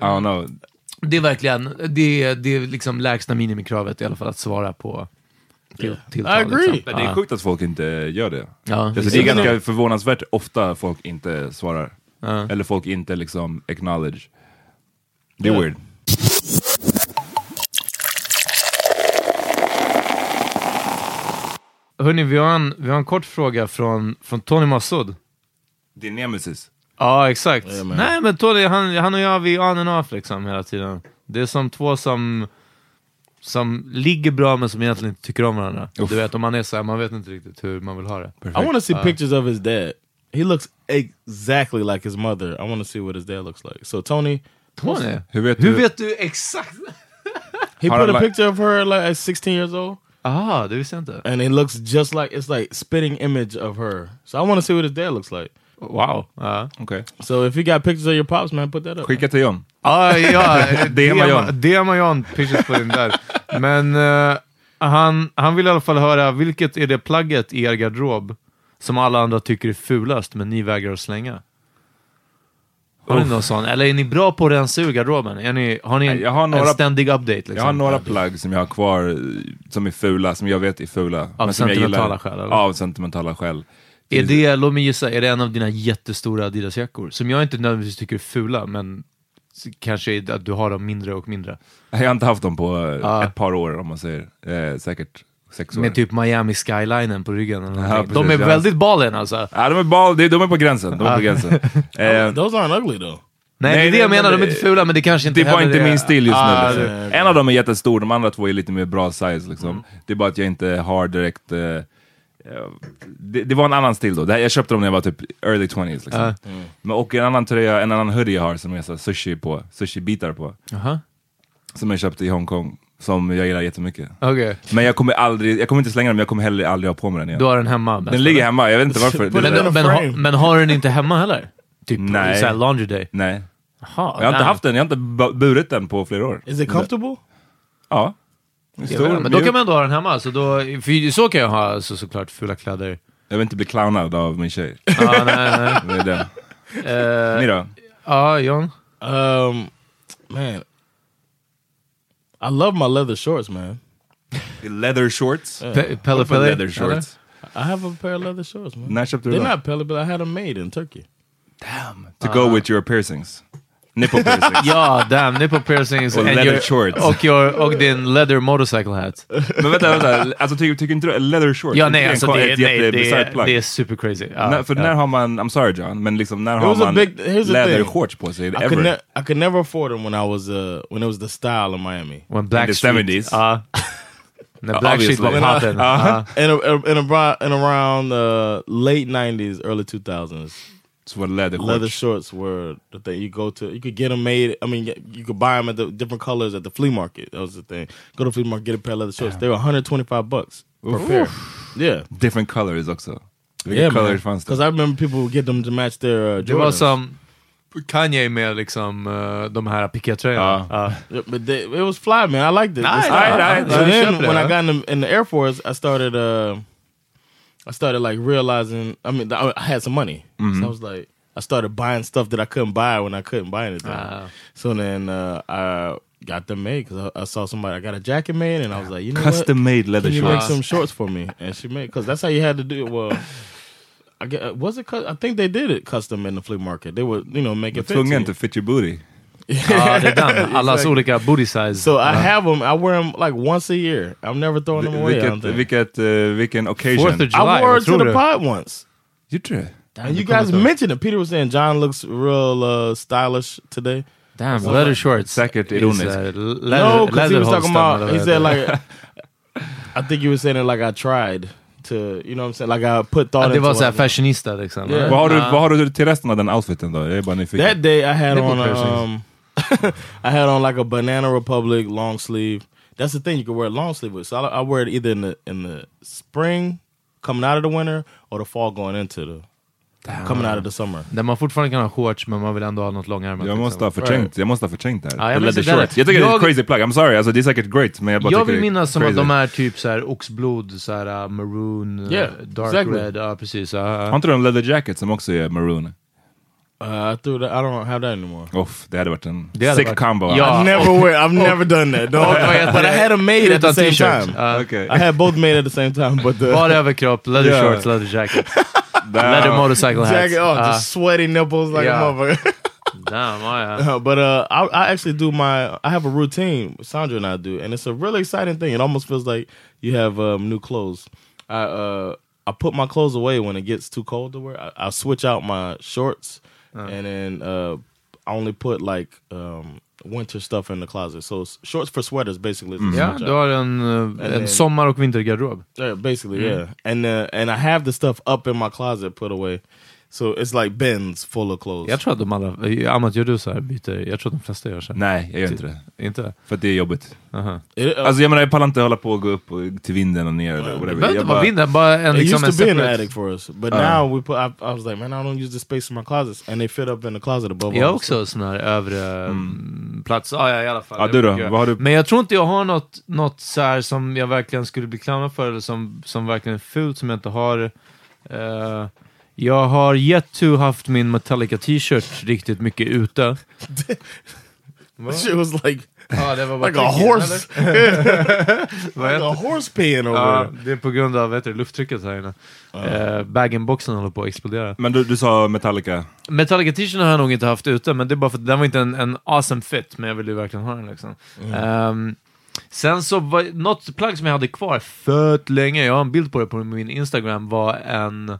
[SPEAKER 3] don't know.
[SPEAKER 1] Det är verkligen, det är, det är liksom lägsta minimikravet i alla fall att svara på till, tilltal.
[SPEAKER 5] I agree.
[SPEAKER 1] Liksom.
[SPEAKER 3] Det är
[SPEAKER 1] Ja.
[SPEAKER 3] sjukt att folk inte gör det.
[SPEAKER 1] Ja,
[SPEAKER 3] Alltså, det är ganska förvånansvärt ofta folk inte svarar. Eller folk inte liksom acknowledge. Det är
[SPEAKER 5] Ja.
[SPEAKER 3] weird.
[SPEAKER 1] Hörni, vi har en, vi har en kort fråga från, från Tony Massoud.
[SPEAKER 3] Det är nemesis.
[SPEAKER 1] Ja, exakt.
[SPEAKER 5] Jajamän.
[SPEAKER 1] Nej, men Tony, han, han och jag, vi är on and off liksom hela tiden. Det är som två som, som ligger bra men som egentligen inte tycker om varandra. Du vet, om man är så här, man vet inte riktigt hur man vill ha det.
[SPEAKER 5] I want to see pictures of his dad. He looks exactly like his mother. I want to see what his dad looks like. So Tony,
[SPEAKER 1] Tony,
[SPEAKER 3] Hur vet
[SPEAKER 1] hur
[SPEAKER 3] du?
[SPEAKER 1] vet du exakt?
[SPEAKER 5] he
[SPEAKER 3] How
[SPEAKER 5] put
[SPEAKER 3] do
[SPEAKER 5] a
[SPEAKER 3] I-
[SPEAKER 5] picture of her like at 16 years old.
[SPEAKER 1] Aha, det visste jag inte.
[SPEAKER 5] and it looks just like it's like spitting image of her. So I want to see what his dad looks like.
[SPEAKER 1] Wow. Ja,
[SPEAKER 3] Okej.
[SPEAKER 5] So if you got pictures of your pops, man, put that up.
[SPEAKER 3] Skicka till John.
[SPEAKER 1] ah,
[SPEAKER 3] <laughs>
[SPEAKER 1] ja
[SPEAKER 3] DM och John.
[SPEAKER 1] DM och John pitches på den där. Men eh, han, han vill i alla fall höra, vilket är det plagget i er garderob som alla andra tycker är fulast, men ni vägrar att slänga? Har ni någon sån? Eller är ni bra på att rensa ur garderoben? Är ni, har ni en,
[SPEAKER 3] Nej, jag har några-
[SPEAKER 1] en ständig update? Liksom?
[SPEAKER 3] Jag har några plagg som jag har kvar eh, som är fula, som jag vet är fula. Av
[SPEAKER 1] sentimentala skäl, eller?
[SPEAKER 3] Av sentimentala skäl.
[SPEAKER 1] Är det, låt mig gissa, är det en av dina jättestora Adidas-jackor? Som jag inte nödvändigtvis tycker är fula, men s- kanske är att du har dem mindre och mindre.
[SPEAKER 3] Jag har inte haft dem på eh,
[SPEAKER 1] Ah.
[SPEAKER 3] ett par år om man säger. Eh, säkert sex år.
[SPEAKER 1] Med typ Miami skylinen på ryggen. Eller någonting. De är
[SPEAKER 3] precis, ja.
[SPEAKER 1] väldigt balen alltså.
[SPEAKER 3] Ja, de, är bal, de, de är på gränsen. De
[SPEAKER 1] Ah.
[SPEAKER 3] är
[SPEAKER 1] <laughs>
[SPEAKER 3] på gränsen. Eh,
[SPEAKER 5] Those aren't ugly though.
[SPEAKER 1] Nej, det
[SPEAKER 3] Nej,
[SPEAKER 1] är det jag
[SPEAKER 3] nej,
[SPEAKER 1] menar.
[SPEAKER 3] men
[SPEAKER 1] De är inte fula, men det kanske inte
[SPEAKER 3] det var
[SPEAKER 1] heller
[SPEAKER 3] inte
[SPEAKER 1] är-
[SPEAKER 3] min stil just
[SPEAKER 1] Ah,
[SPEAKER 3] nu.
[SPEAKER 1] det- Mm.
[SPEAKER 3] Liksom. En av dem är jättestor, de andra två är lite mer bra size. Liksom. Det är bara att jag inte har direkt... eh, eh, det, det var en annan stil då. Det här, jag köpte dem när jag var typ early 20s. Liksom.
[SPEAKER 1] Ah.
[SPEAKER 3] Men, och en annan tröja, en annan hoodie jag har som är så här sushi på, sushi-bitar på.
[SPEAKER 1] Jaha.
[SPEAKER 3] Som jag köpte i Hongkong, som jag gillar jättemycket.
[SPEAKER 1] Ah, Okej.
[SPEAKER 3] Men jag kommer aldrig, jag kommer inte slänga den, men jag kommer heller aldrig ha på mig den igen.
[SPEAKER 1] Du har den hemma.
[SPEAKER 3] Den ligger hemma, jag vet
[SPEAKER 1] <laughs>
[SPEAKER 3] inte varför.
[SPEAKER 5] Put
[SPEAKER 3] Det-
[SPEAKER 5] it in a
[SPEAKER 1] Men, men,
[SPEAKER 5] frame.
[SPEAKER 1] ha, men har den inte hemma heller? Typ
[SPEAKER 3] Nej.
[SPEAKER 1] såhär laundry day?
[SPEAKER 3] Nej.
[SPEAKER 1] Jaha,
[SPEAKER 3] Jag har inte
[SPEAKER 1] nej.
[SPEAKER 3] haft den, jag har inte bu- burit den på flera år.
[SPEAKER 5] Is it comfortable?
[SPEAKER 3] Ja.
[SPEAKER 1] Jag vet inte, Men då
[SPEAKER 3] mjuk.
[SPEAKER 1] kan man ändå ha den hemma. Så, då, för så kan jag ha alltså, såklart fula kläder.
[SPEAKER 3] Jag vill inte bli clownad av min tjej.
[SPEAKER 1] Ja, nej, nej. Eh,
[SPEAKER 3] <laughs> Det är det. Ni då?
[SPEAKER 1] Ja, John?
[SPEAKER 5] Um, man, I love my leather shorts, man.
[SPEAKER 3] Leather shorts?
[SPEAKER 1] Pe- Eh, Pelle
[SPEAKER 3] Varför
[SPEAKER 1] Pelle?
[SPEAKER 3] leather shorts?
[SPEAKER 5] I have a pair of leather shorts, man.
[SPEAKER 3] När köpte du
[SPEAKER 5] They're
[SPEAKER 3] dem?
[SPEAKER 5] not Pele, but I had them made in Turkey.
[SPEAKER 3] To go with your piercings. Nipple piercings.
[SPEAKER 1] <laughs> Ja, damn. Nipple piercings.
[SPEAKER 3] <laughs> Och
[SPEAKER 1] and
[SPEAKER 3] leather
[SPEAKER 1] your-
[SPEAKER 3] shorts.
[SPEAKER 1] Och, your, och din leather motorcycle
[SPEAKER 3] <laughs>
[SPEAKER 1] hat.
[SPEAKER 3] Men vänta, vänta. Alltså, tycker, tycker inte du att leather shorts
[SPEAKER 1] Ja, nej,
[SPEAKER 3] är
[SPEAKER 1] alltså
[SPEAKER 3] en-
[SPEAKER 1] det, är-
[SPEAKER 3] ett
[SPEAKER 1] nej, det,
[SPEAKER 3] jättebisarrt
[SPEAKER 1] är,
[SPEAKER 3] plagg?
[SPEAKER 1] det är super crazy. Ja,
[SPEAKER 3] När- för
[SPEAKER 1] ja.
[SPEAKER 3] när har man, I'm sorry John, men liksom när har
[SPEAKER 5] was a
[SPEAKER 3] man
[SPEAKER 5] big- here's the
[SPEAKER 3] leather
[SPEAKER 5] thing.
[SPEAKER 3] shorts på sig?
[SPEAKER 5] I could, ne-
[SPEAKER 3] Ever?
[SPEAKER 5] I could never afford them when I was uh when it was the style in Miami.
[SPEAKER 1] When Black
[SPEAKER 3] the
[SPEAKER 1] Street-
[SPEAKER 3] 70s. <laughs>
[SPEAKER 1] Ja. när Black Sheet var
[SPEAKER 3] obviously.
[SPEAKER 1] poppin. Ja.
[SPEAKER 5] And Uh-huh. a- a- and around and around uh, late '90s, early 2000s,
[SPEAKER 3] Så var det leather shorts.
[SPEAKER 5] leather shorts were the thing. You go to, you could get them made. I mean, you could buy them at the different colors at the flea market. That was the thing. Go to the flea market, get a pair of leather shorts. They were 125 bucks per pair. Yeah,
[SPEAKER 3] Different colors också. Vilka
[SPEAKER 5] yeah,
[SPEAKER 3] colors fanns
[SPEAKER 5] Because
[SPEAKER 3] det?
[SPEAKER 5] I remember people would get them to match their uh,
[SPEAKER 1] Det var
[SPEAKER 5] Jordans.
[SPEAKER 1] som Kanye med liksom eh, de här pikétröjorna. Ja.
[SPEAKER 5] Yeah, but they, it was fly, man. I liked it.
[SPEAKER 1] Nice.
[SPEAKER 5] It's-
[SPEAKER 1] Alright, alright.
[SPEAKER 5] So
[SPEAKER 1] Yeah,
[SPEAKER 5] then,
[SPEAKER 1] sure,
[SPEAKER 5] when I
[SPEAKER 1] yeah.
[SPEAKER 5] got in the, in the Air Force, I started. Uh, I started like realizing. I mean, I I had some money,
[SPEAKER 1] Mm-hmm.
[SPEAKER 5] so I was like, I started buying stuff that I couldn't buy when I couldn't buy anything.
[SPEAKER 1] Ah.
[SPEAKER 5] So then uh, I got them made because I, I saw somebody. I got a jacket made, and I was like, you know
[SPEAKER 3] Custom
[SPEAKER 5] what?
[SPEAKER 3] made leather
[SPEAKER 5] Can you make
[SPEAKER 3] shorts.
[SPEAKER 5] some shorts for me? And she made because that's how you had to do it. Well. I get, was it? cu- I think they did it custom in the flea market. They were, you know, make it fit to
[SPEAKER 3] Tvungen
[SPEAKER 5] you.
[SPEAKER 3] to fit your booty.
[SPEAKER 1] Ja, det <laughs> är den. Allas olika booty size.
[SPEAKER 5] So I have them. I wear them like once a year. I'm never throwing them away. I don't
[SPEAKER 3] Vilket,
[SPEAKER 5] think.
[SPEAKER 3] vilket, eh, vilken
[SPEAKER 1] Fourth
[SPEAKER 3] occasion. Ah.
[SPEAKER 1] of July,
[SPEAKER 5] I wore
[SPEAKER 1] vad
[SPEAKER 5] it to
[SPEAKER 1] tror
[SPEAKER 5] the
[SPEAKER 1] du?
[SPEAKER 5] pod once.
[SPEAKER 3] Gjorde du?
[SPEAKER 5] And you guys mentioned it. Peter was saying John looks real uh, stylish today.
[SPEAKER 1] Damn, leather shorts.
[SPEAKER 3] Säkert
[SPEAKER 1] is,
[SPEAKER 3] ironiskt.
[SPEAKER 1] eh, leather-
[SPEAKER 5] No, because he
[SPEAKER 1] leather
[SPEAKER 5] was talking
[SPEAKER 1] Holstam,
[SPEAKER 5] about.
[SPEAKER 1] eller
[SPEAKER 5] He
[SPEAKER 1] vad
[SPEAKER 5] said
[SPEAKER 1] heter det?
[SPEAKER 5] like, <laughs> I think you were saying it like I tried to. You know what I'm saying? Like I put thought
[SPEAKER 1] Att det
[SPEAKER 5] into
[SPEAKER 1] var
[SPEAKER 5] it.
[SPEAKER 1] såhär fashionista liksom.
[SPEAKER 5] Yeah.
[SPEAKER 3] Vad har, du, vad har du till resten av den outfiten då? Jag är bara nyfiken.
[SPEAKER 5] That day I had
[SPEAKER 1] Nipple
[SPEAKER 5] on a,
[SPEAKER 1] piercings.
[SPEAKER 5] um, <laughs> I had on like a Banana Republic long sleeve. That's the thing you can wear a long sleeve with. So I, I wear it either in the in the spring, coming out of the winter, or the fall going into the coming out of the summer.
[SPEAKER 1] Där man fortfarande kan ha shorts, men man vill ändå ha något långärmat.
[SPEAKER 3] Jag
[SPEAKER 1] liksom.
[SPEAKER 3] måste ha förträngt, jag måste ha förträngt det här.
[SPEAKER 1] Ja, jag
[SPEAKER 3] The
[SPEAKER 1] minns
[SPEAKER 3] leather
[SPEAKER 1] det där.
[SPEAKER 3] shorts. jag tycker det är
[SPEAKER 1] Jag-
[SPEAKER 3] ett crazy plagg, I'm sorry, alltså, det är säkert great men jag bara
[SPEAKER 1] Jag
[SPEAKER 3] tycker
[SPEAKER 1] vill
[SPEAKER 3] det är
[SPEAKER 1] minnas som att
[SPEAKER 3] crazy.
[SPEAKER 1] de är typ så här oxblod, så här uh, maroon, uh,
[SPEAKER 5] Yeah,
[SPEAKER 1] dark
[SPEAKER 5] exactly.
[SPEAKER 1] red. Ja, precis. ja, ja.
[SPEAKER 3] Har inte du en leather jacket som också är maroon?
[SPEAKER 5] Uh, I threw that. I don't have that anymore.
[SPEAKER 3] Uff, det hade varit en
[SPEAKER 1] Det hade
[SPEAKER 3] sick
[SPEAKER 1] varit-
[SPEAKER 3] combo.
[SPEAKER 1] Ja.
[SPEAKER 5] I never wear. I've never done that. Dog. <laughs>
[SPEAKER 1] vad heter
[SPEAKER 5] but I
[SPEAKER 1] det?
[SPEAKER 5] had them made at the
[SPEAKER 1] Utan
[SPEAKER 5] same
[SPEAKER 1] t-shirt.
[SPEAKER 5] time.
[SPEAKER 1] Ja.
[SPEAKER 3] Ah, Okej.
[SPEAKER 5] I had both made at the same time, but the
[SPEAKER 1] Bara överkropp, leather
[SPEAKER 3] Yeah.
[SPEAKER 1] shorts, leather <laughs> jacket, <laughs>
[SPEAKER 3] Där-
[SPEAKER 1] leather motorcycle hat.
[SPEAKER 5] jacket, oh,
[SPEAKER 1] Ah,
[SPEAKER 5] just sweaty nipples like
[SPEAKER 1] Yeah.
[SPEAKER 5] a motherfucker.
[SPEAKER 1] damn, ja, ja.
[SPEAKER 5] Uh, but uh, I, I actually do my. I have a routine. Sandra and I do, and it's a really exciting thing. It almost feels like you have um, new clothes. I uh, I put my clothes away when it gets too cold to wear. I, I switch out my shorts, and then uh, I only put like um, winter stuff in the closet. So s- shorts for sweaters, basically. is the
[SPEAKER 1] Ja,
[SPEAKER 5] switch
[SPEAKER 1] du
[SPEAKER 5] out.
[SPEAKER 1] har en, uh, en sommar och vintergarderob.
[SPEAKER 5] Yeah, basically, yeah. And uh, and I have the stuff up in my closet put away. So it's like bins full of clothes.
[SPEAKER 1] Jag tror att de alla, eh, Amat gör du så här byter, jag tror att de flesta gör så här.
[SPEAKER 3] Nej, jag gör inte det.
[SPEAKER 1] Inte?
[SPEAKER 3] För att det är jobbigt.
[SPEAKER 1] Aha.
[SPEAKER 5] It, uh,
[SPEAKER 3] Alltså jag menar, jag pallar inte hålla på och gå upp och- till vinden och ner eller
[SPEAKER 1] Det
[SPEAKER 3] whatever.
[SPEAKER 1] behöver
[SPEAKER 3] Jag
[SPEAKER 1] inte vara
[SPEAKER 3] bara,
[SPEAKER 1] vinden, bara en
[SPEAKER 5] it
[SPEAKER 1] liksom en
[SPEAKER 5] used to be an
[SPEAKER 1] separate-
[SPEAKER 5] attic for us, but
[SPEAKER 3] Uh.
[SPEAKER 5] now we put. I, I was like, man, I don't use the space in my closets, and they fit up in the closet above.
[SPEAKER 1] Jag
[SPEAKER 5] all
[SPEAKER 1] har
[SPEAKER 5] the
[SPEAKER 1] också sån här övre mm. plats. Ah, ja, i alla fall.
[SPEAKER 3] Ja,
[SPEAKER 1] Jag
[SPEAKER 3] du då?
[SPEAKER 1] brukar-
[SPEAKER 3] Vad har du-
[SPEAKER 1] Men jag tror inte jag har något, något så här som jag verkligen skulle bli klandrad för, eller som, som verkligen är fult, som jag inte har. Eh, jag har yet to haft min Metallica t-shirt riktigt mycket ute.
[SPEAKER 5] stuff. <laughs> Shit was like
[SPEAKER 1] Ja, det var
[SPEAKER 5] like a horse, <laughs> like a
[SPEAKER 1] Ja,
[SPEAKER 5] horse peeing over.
[SPEAKER 1] det är på grund av vet du, lufttrycket här inne. Uh. Bag-in-boxen håller på att explodera.
[SPEAKER 3] men du, du sa Metallica.
[SPEAKER 1] Metallica t-shirten har jag nog inte haft ute, men det är bara för att den var inte en, en awesome fit, men jag ville ju verkligen ha den liksom. Ehm, sen så var något plagg som jag hade kvar fett länge, jag har en bild på det på min Instagram, var en,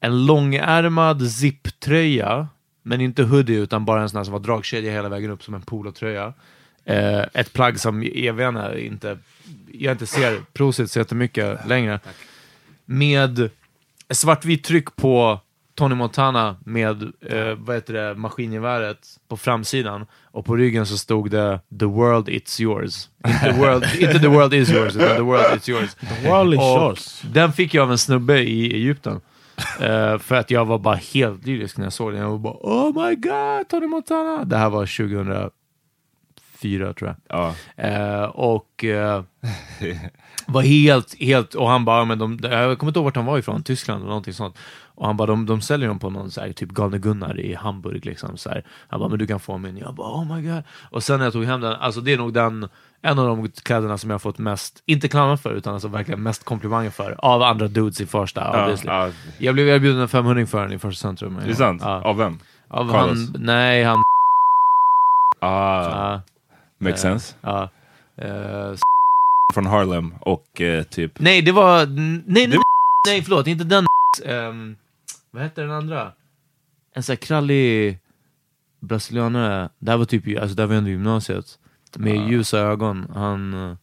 [SPEAKER 1] en långärmad zipptröja, men inte hoodie utan bara en sån här som var dragkedja hela vägen upp som en polotröja. Eh, ett plagg som jag vet inte, inte, jag inte ser prosit så jättemycket längre. Med svartvitt tryck på Tony Montana med eh, vad heter det, maskingeväret på framsidan och på ryggen så stod det “The world it's yours”. Inte,
[SPEAKER 5] <laughs>
[SPEAKER 1] world, inte “The world is yours” utan “The world it's yours”.
[SPEAKER 5] The world is
[SPEAKER 1] Och
[SPEAKER 5] yours.
[SPEAKER 1] Den fick jag av en snubbe i Egypten. Eh, för att jag var bara helt lyrisk när jag såg den. Jag var bara “Oh my god, Tony Montana!” Det här var 2004 tror jag.
[SPEAKER 3] Ja.
[SPEAKER 1] Eh, och eh, var helt, helt, och han bara, "Ja, men de, jag kommer inte ihåg vart han var ifrån, Tyskland eller någonting sånt. Och han bara, de, de säljer dem på någon så här, typ galne Gunnar i Hamburg liksom. Så här. Han bara, men du kan få min. Jag bara, oh my god. Och sen när jag tog hem den, alltså det är nog den, en av de kläderna som jag har fått mest, inte klandrar för, utan alltså verkligen mest komplimanger för, av andra dudes i första, obviously.
[SPEAKER 3] ja.
[SPEAKER 1] Jag blev erbjuden en 500 för den i första centrum.
[SPEAKER 3] Det är sant?
[SPEAKER 1] Ja.
[SPEAKER 3] Av vem?
[SPEAKER 1] Av
[SPEAKER 3] Carlos?
[SPEAKER 1] han, nej, han...
[SPEAKER 3] Ah,
[SPEAKER 1] Ja,
[SPEAKER 3] makes sense.
[SPEAKER 1] ja. Eh,
[SPEAKER 3] Från Harlem och eh, typ...
[SPEAKER 1] Nej, det var... n- Nej,
[SPEAKER 3] Det
[SPEAKER 1] nej, nej förlåt. Inte den ehm, Vad hette den andra? En sån här krallig brasilianare. Det här var typ alltså, det här var under gymnasiet. Med ljusa ögon. Han... eh,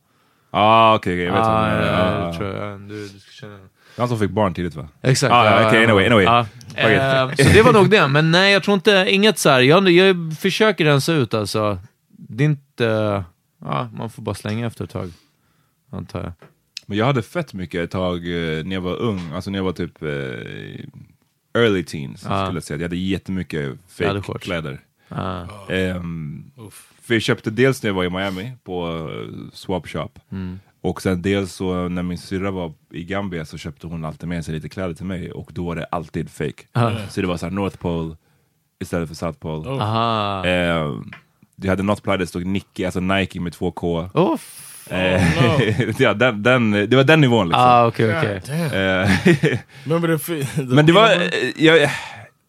[SPEAKER 3] Ah, okej, okej, Ah. jag
[SPEAKER 1] ah,
[SPEAKER 3] vet vem det är.
[SPEAKER 1] ja,
[SPEAKER 3] Ah,
[SPEAKER 1] jag
[SPEAKER 3] ah.
[SPEAKER 1] tror jag. Du, du ska känna den.
[SPEAKER 3] Han som fick barn tidigt va?
[SPEAKER 1] Exakt.
[SPEAKER 3] Ah,
[SPEAKER 1] ja,
[SPEAKER 3] ja, okej,
[SPEAKER 1] ja,
[SPEAKER 3] anyway,
[SPEAKER 1] ja.
[SPEAKER 3] anyway.
[SPEAKER 1] Ja.
[SPEAKER 3] Okej.
[SPEAKER 1] Eh, så det var nog det, men nej jag tror inte, inget så här. Jag, jag försöker rensa ut alltså. Det är inte, ja, man får bara slänga efter ett tag. Antar jag.
[SPEAKER 3] Men jag hade fett mycket ett tag eh, när jag var ung, alltså när jag var typ eh, early teens
[SPEAKER 1] Ah.
[SPEAKER 3] skulle jag säga. Jag hade jättemycket
[SPEAKER 1] Jag hade
[SPEAKER 3] fake
[SPEAKER 1] shorts.
[SPEAKER 3] kläder.
[SPEAKER 1] Ah.
[SPEAKER 3] Ehm, för jag köpte dels när jag var i Miami på eh, swap shop.
[SPEAKER 1] Mm.
[SPEAKER 3] Och sen dels så när min syrra var i Gambia så köpte hon alltid med sig lite kläder till mig och då var det alltid fake.
[SPEAKER 1] Ah.
[SPEAKER 3] Så det var såhär North Pole istället för South Pole.
[SPEAKER 1] Aha.
[SPEAKER 3] Ehm, jag hade något plagg där det stod Nike, alltså Nike med två K.
[SPEAKER 1] Åh, f-
[SPEAKER 5] Oh,
[SPEAKER 3] <laughs> Eh, ja, den, den, det var den nivån liksom.
[SPEAKER 1] ah, okej, okej.
[SPEAKER 3] Eh,
[SPEAKER 5] Remember the, fi-
[SPEAKER 3] <laughs>
[SPEAKER 5] the
[SPEAKER 3] men det var,
[SPEAKER 5] peanut butter?
[SPEAKER 3] eh, jag,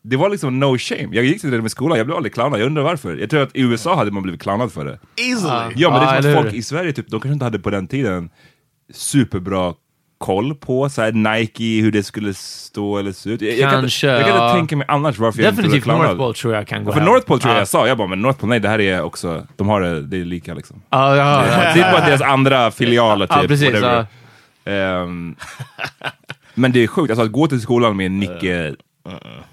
[SPEAKER 3] det var liksom no shame. Jag gick till det med skolan, jag blev aldrig clownad. Jag undrar varför. Jag tror att i USA hade man blivit clownad för det.
[SPEAKER 5] easily.
[SPEAKER 3] Ja men
[SPEAKER 1] Ah,
[SPEAKER 3] det är
[SPEAKER 1] eller
[SPEAKER 3] som att
[SPEAKER 1] hur?
[SPEAKER 3] folk i Sverige, typ, de kanske inte hade på den tiden superbra koll på så här, Nike, hur det skulle stå eller se ut. Jag, jag kan, inte-
[SPEAKER 1] Kanske,
[SPEAKER 3] jag kan
[SPEAKER 1] ja.
[SPEAKER 3] inte tänka mig annars varför jag inte blev
[SPEAKER 1] Definitivt
[SPEAKER 3] clownad.
[SPEAKER 1] North Pole tror jag kan gå
[SPEAKER 3] För
[SPEAKER 1] hem.
[SPEAKER 3] North Pole tror jag
[SPEAKER 1] Ja.
[SPEAKER 3] jag sa, jag bara men North Pole, nej det här är också, de har det, det är lika liksom.
[SPEAKER 1] Ja, Ah, ja, ja.
[SPEAKER 3] Det är bara deras andra filialer typ.
[SPEAKER 1] Ja, precis,
[SPEAKER 3] whatever.
[SPEAKER 1] ja.
[SPEAKER 3] Ehm, men det är sjukt, alltså att gå till skolan med en Nicke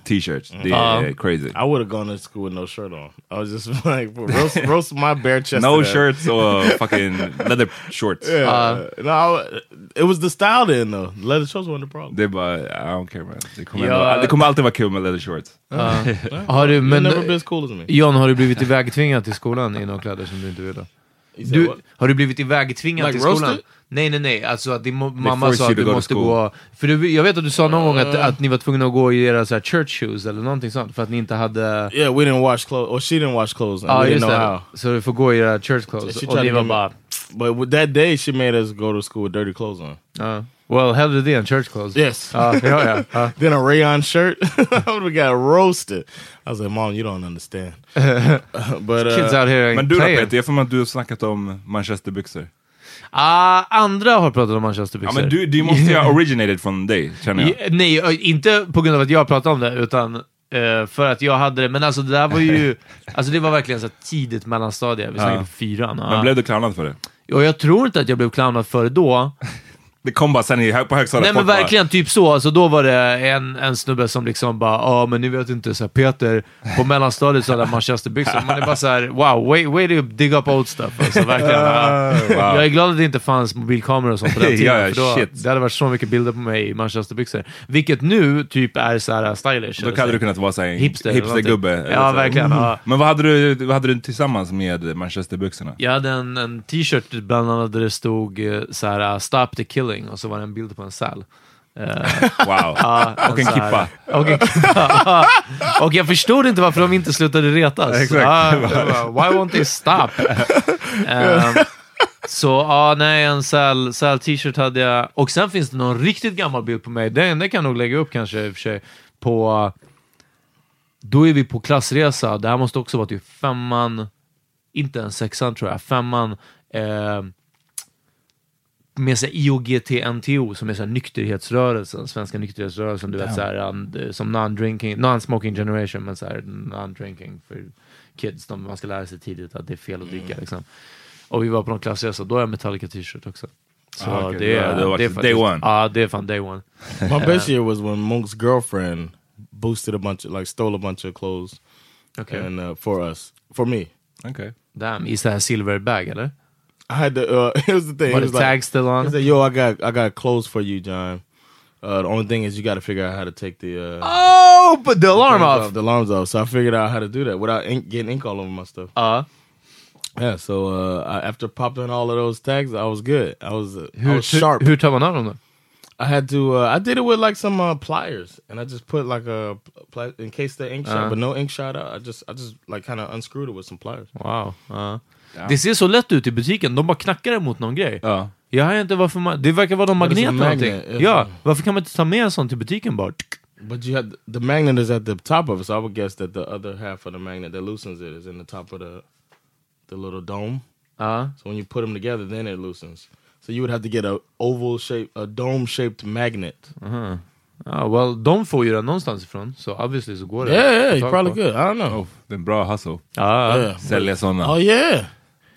[SPEAKER 3] t-shirt, det är
[SPEAKER 1] Ja.
[SPEAKER 3] crazy.
[SPEAKER 5] I would have gone to school with no shirt on. I was just <laughs> like roast, roast my bare chest.
[SPEAKER 3] No
[SPEAKER 5] to death.
[SPEAKER 3] shirts och fucking leather shorts.
[SPEAKER 5] Yeah. no, I- it was the style then though. Leather shorts wasn't the problem.
[SPEAKER 3] Det är bara, I don't care man. Det kommer,
[SPEAKER 1] Ja.
[SPEAKER 3] ändå, det kommer alltid vara kul med leather shorts.
[SPEAKER 1] Har du,
[SPEAKER 5] You've
[SPEAKER 1] men,
[SPEAKER 5] never been as cool as me.
[SPEAKER 1] John, har du blivit ivägtvingad till skolan i några kläder som du inte ville?
[SPEAKER 5] You said
[SPEAKER 1] Du,
[SPEAKER 5] what?
[SPEAKER 1] har du blivit ivägtvingad
[SPEAKER 5] Like
[SPEAKER 1] till skolan?
[SPEAKER 5] roasted?
[SPEAKER 1] Nej, nej, nej. Alltså att din mo- mamma
[SPEAKER 3] force
[SPEAKER 1] sa
[SPEAKER 3] you
[SPEAKER 1] att
[SPEAKER 3] to
[SPEAKER 1] du
[SPEAKER 3] go to
[SPEAKER 1] måste
[SPEAKER 3] school.
[SPEAKER 1] gå... För du, jag vet att du sa någon gång att, att ni var tvungna att gå i era så här, church shoes eller någonting sånt för att ni inte hade...
[SPEAKER 5] Yeah, we didn't wash clothes, or she didn't wash clothes. And
[SPEAKER 1] Ja,
[SPEAKER 5] we didn't
[SPEAKER 1] just
[SPEAKER 5] know
[SPEAKER 1] det.
[SPEAKER 5] how.
[SPEAKER 1] Så du får gå i era church clothes.
[SPEAKER 5] She
[SPEAKER 1] Och
[SPEAKER 5] tried
[SPEAKER 1] ni var
[SPEAKER 5] to give me-
[SPEAKER 1] bara...
[SPEAKER 5] But with that day, she made us go to school with dirty clothes on.
[SPEAKER 1] ja. well, hellre det än church clothes.
[SPEAKER 5] Yes.
[SPEAKER 1] Ja, ja, ja. ja.
[SPEAKER 5] <laughs> Then a rayon shirt. <laughs> we got roasted. I was like, Mom, you don't understand. <laughs> but
[SPEAKER 1] Kids
[SPEAKER 5] uh,
[SPEAKER 1] out here ain't
[SPEAKER 3] Men du då
[SPEAKER 1] playing.
[SPEAKER 3] Peter, jag får med att du har snackat om manchesterbyxor.
[SPEAKER 1] Ah, andra har pratat om manchesterbyxor.
[SPEAKER 3] Ja men du, du måste
[SPEAKER 1] <laughs>
[SPEAKER 3] ju ha originated från dig, känner jag.
[SPEAKER 1] Ja, Nej, ö, inte på grund av att jag pratade om det, utan eh, för att jag hade det. Men alltså det där var ju... alltså det var verkligen så här tidigt mellanstadie. Vi snackade
[SPEAKER 3] Ja.
[SPEAKER 1] på fyran. ja.
[SPEAKER 3] Men blev du clownad för det?
[SPEAKER 1] Och jag tror inte att jag blev clownad före då.
[SPEAKER 3] Det kom bara sen i, hö- på högstadiet.
[SPEAKER 1] Nej men
[SPEAKER 3] folk bara,
[SPEAKER 1] verkligen, typ så. Alltså, då var det en, en snubbe som liksom bara, ja men ni vet inte, så här, Peter på mellanstadiet så hade han manchesterbyxor. Man är bara så här, wow, way, way to dig up old stuff. Alltså, verkligen. Ja.
[SPEAKER 3] <laughs> wow.
[SPEAKER 1] Jag är glad att det inte fanns mobilkameror och sånt
[SPEAKER 3] <laughs>
[SPEAKER 1] på den
[SPEAKER 3] Ja,
[SPEAKER 1] tiden.
[SPEAKER 3] ja,
[SPEAKER 1] för då,
[SPEAKER 3] shit.
[SPEAKER 1] Det hade varit så mycket bilder på mig i manchesterbyxor. Vilket nu typ är så här stylish.
[SPEAKER 3] Då
[SPEAKER 1] eller så här.
[SPEAKER 3] hade du kunnat vara såhär,
[SPEAKER 1] Hipster
[SPEAKER 3] hipster,
[SPEAKER 1] eller
[SPEAKER 3] hipstergubbe.
[SPEAKER 1] någonting. Ja,
[SPEAKER 3] eller så här. Mm.
[SPEAKER 1] verkligen, ja.
[SPEAKER 3] Men vad hade, du, vad hade du tillsammans med manchesterbyxorna?
[SPEAKER 1] Jag hade en, en t-shirt bland annat där det stod eh, så här, “Stop the killing” och så var det en bild på en säl. Eh,
[SPEAKER 3] Wow.
[SPEAKER 1] <laughs> Ja,
[SPEAKER 3] Och en
[SPEAKER 1] så här.
[SPEAKER 3] kippa.
[SPEAKER 1] Och en kippa. <laughs> och jag förstod inte varför de inte slutade retas.
[SPEAKER 3] Exakt.
[SPEAKER 1] Ja, det var, Why won't they
[SPEAKER 3] <laughs>
[SPEAKER 1] stop? Ehm, så ja, nej, en säl, säl t-shirt hade jag. Och sen finns det någon riktigt gammal bild på mig. Den, den kan jag nog lägga upp kanske i och för sig. På, då är vi på klassresa. Det här måste också vara typ femman, inte ens sexan tror jag, femman. ehm, med sig IOGT-NTO som är så här nykterhetsrörelsen, svenska nykterhetsrörelsen, du vet så här, um, som non-drinking, non-smoking generation, men så här non-drinking för kids, de, man ska lära sig tidigt att det är fel att
[SPEAKER 3] Mm.
[SPEAKER 1] dricka liksom. Och vi var på någon klassresa, då har jag Metallica t-shirt också. Så
[SPEAKER 3] Ah, okej.
[SPEAKER 1] det,
[SPEAKER 3] Ja,
[SPEAKER 1] är,
[SPEAKER 3] det var
[SPEAKER 1] det är
[SPEAKER 3] day one.
[SPEAKER 1] Ja, det är fan day one.
[SPEAKER 5] uh, My best year was when Monk's girlfriend boosted a bunch of like stole a bunch of clothes
[SPEAKER 1] Okay.
[SPEAKER 5] and uh, for us for me.
[SPEAKER 3] Okay.
[SPEAKER 1] Damn, i så här silver bag eller?
[SPEAKER 5] I had to. Uh, <laughs> here's the thing.
[SPEAKER 1] Var det
[SPEAKER 5] It was like-
[SPEAKER 1] tag still
[SPEAKER 5] He
[SPEAKER 1] on?
[SPEAKER 5] said, "Yo, I got I got clothes for you, John. Uh, the only thing is you got to figure out how to take the uh,
[SPEAKER 1] Oh, but the alarm off!
[SPEAKER 5] the alarms off." So I figured out how to do that without ink, getting ink all over my stuff.
[SPEAKER 1] Ja.
[SPEAKER 5] Yeah. So uh, I, after popping all of those tags, I was good. I was, uh, I
[SPEAKER 1] hur,
[SPEAKER 5] was sharp.
[SPEAKER 1] hur tar man av dem då?
[SPEAKER 5] I had to. Uh, I did it with like some uh, pliers, and I just put like a pl- in case the ink
[SPEAKER 1] Uh-huh.
[SPEAKER 5] shot, but no ink shot out. I just I just like kind of unscrewed it with some pliers.
[SPEAKER 1] Wow. ja. Det ser så lätt ut i butiken, de bara knackar det mot någon grej.
[SPEAKER 3] Ja.
[SPEAKER 1] Jag har inte varför man... Det verkar vara någon
[SPEAKER 5] Ja, det är
[SPEAKER 1] magnet eller
[SPEAKER 5] som
[SPEAKER 1] någonting.
[SPEAKER 5] magnet, ja.
[SPEAKER 1] Ja, varför kan man inte ta med en sån till butiken bara?
[SPEAKER 5] But you had the magnet is at the top of it, so I would guess that the other half of the magnet that loosens it is in the top of the the little dome.
[SPEAKER 1] Ja.
[SPEAKER 5] So when you put them together, then it loosens. So you would have to get a oval shape, a dome shaped magnet.
[SPEAKER 1] Ja, well, de får ju den någonstans ifrån, så obviously så går det.
[SPEAKER 5] Yeah, yeah,
[SPEAKER 1] att
[SPEAKER 5] you
[SPEAKER 1] få
[SPEAKER 5] probably
[SPEAKER 1] tag på.
[SPEAKER 5] good. I don't know. Uh-huh.
[SPEAKER 3] Det är en bra hustle.
[SPEAKER 1] Ja,
[SPEAKER 5] Oh. Yeah.
[SPEAKER 3] Sälja sådana.
[SPEAKER 5] Oh yeah.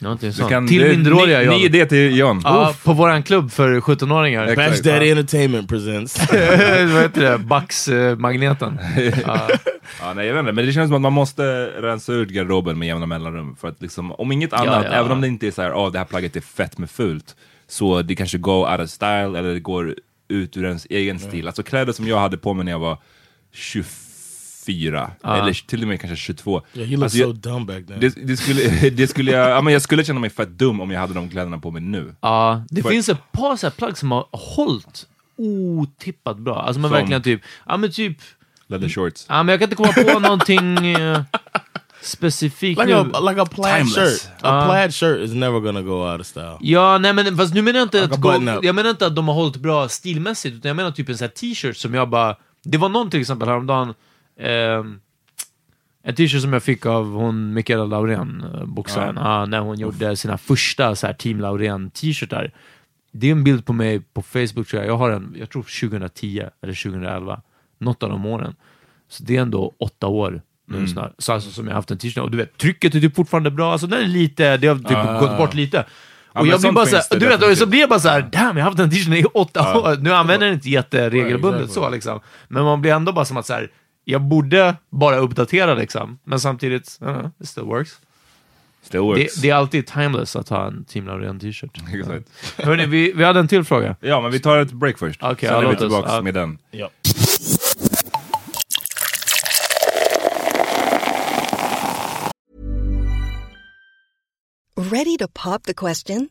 [SPEAKER 1] någonting
[SPEAKER 3] Du
[SPEAKER 1] sånt.
[SPEAKER 3] kan-
[SPEAKER 1] till
[SPEAKER 3] det är
[SPEAKER 1] minderåriga,
[SPEAKER 3] ny,
[SPEAKER 1] John.
[SPEAKER 3] ny idé till John.
[SPEAKER 1] Ja, på våran klubb för 17-åringar.
[SPEAKER 3] Exakt.
[SPEAKER 5] Bash Daddy Entertainment
[SPEAKER 1] <laughs>
[SPEAKER 5] presents.
[SPEAKER 1] Vad heter det? Bax-magneten.
[SPEAKER 3] Ja, nej, jag vet inte, men det känns som att man måste rensa ut garderoben med jämna mellanrum. För att liksom, om inget annat,
[SPEAKER 1] ja.
[SPEAKER 3] även om det inte är så här, "Ah, det här plagget är fett med fult, så det kanske går out of style eller det går ut ur ens egen stil. Alltså kläder som jag hade på mig när jag var 24, eller till och med kanske 22.
[SPEAKER 5] yeah, you look
[SPEAKER 3] Alltså,
[SPEAKER 5] so
[SPEAKER 3] jag,
[SPEAKER 5] dumb back then.
[SPEAKER 3] det, det skulle, <laughs> det skulle jag, ja, men jag skulle känna mig fett dum om jag hade de kläderna på mig nu.
[SPEAKER 1] Ja, det
[SPEAKER 3] För-
[SPEAKER 1] finns ett par så här plagg som har hållit otippat bra. Alltså men
[SPEAKER 3] Som?
[SPEAKER 1] verkligen typ, ja men typ,
[SPEAKER 3] Leather shorts.
[SPEAKER 1] ja men jag kan inte komma på någonting eh, specifikt
[SPEAKER 5] like
[SPEAKER 1] nu.
[SPEAKER 5] a like a plaid
[SPEAKER 3] Timeless.
[SPEAKER 5] shirt. A plaid shirt is never gonna go out of style.
[SPEAKER 1] Ja, nej men fast nu menar jag inte,
[SPEAKER 5] Like
[SPEAKER 1] att,
[SPEAKER 5] a
[SPEAKER 1] gå,
[SPEAKER 5] button up.
[SPEAKER 1] jag menar inte att de har hållit bra stilmässigt, utan jag menar typ en sån här t-shirt som jag bara... Det var någon till exempel häromdagen, ehm, en t-shirt som jag fick av hon Mikaela Laurén, eh, boxaren, ah, när hon gjorde sina första så här, Team Laurén-t-shirtar. Det är en bild på mig på Facebook tror jag, jag har en, jag tror 2010 eller 2011, något av de åren. Så det är ändå åtta år nu snart. Så alltså, som jag haft en t-shirt, och du vet, trycket är typ fortfarande bra, alltså den är lite, det har typ gått bort lite.
[SPEAKER 3] Ja,
[SPEAKER 1] Och
[SPEAKER 3] men
[SPEAKER 1] jag blir
[SPEAKER 3] sånt
[SPEAKER 1] bara
[SPEAKER 3] finns
[SPEAKER 1] såhär,
[SPEAKER 3] det
[SPEAKER 1] du vet, och så
[SPEAKER 3] definitivt.
[SPEAKER 1] blir jag bara såhär, damn jag har haft den t-shirten i åtta år, nu använder jag den inte jätteregelbundet
[SPEAKER 5] Right, exactly.
[SPEAKER 1] så liksom. Men man blir ändå bara som att såhär, jag borde bara uppdatera liksom, men samtidigt, uh, it still works.
[SPEAKER 3] Still works.
[SPEAKER 1] Det, det är alltid timeless att ha en Team Laurén t-shirt.
[SPEAKER 3] <laughs> Exakt.
[SPEAKER 1] Hörni, vi, vi hade en till fråga.
[SPEAKER 3] Ja, men vi tar ett break först.
[SPEAKER 1] Okej, ja,
[SPEAKER 3] Sen är vi
[SPEAKER 1] låt oss.
[SPEAKER 3] tillbaka
[SPEAKER 1] Ja.
[SPEAKER 3] med den.
[SPEAKER 5] Yep.
[SPEAKER 4] Ready to pop the question?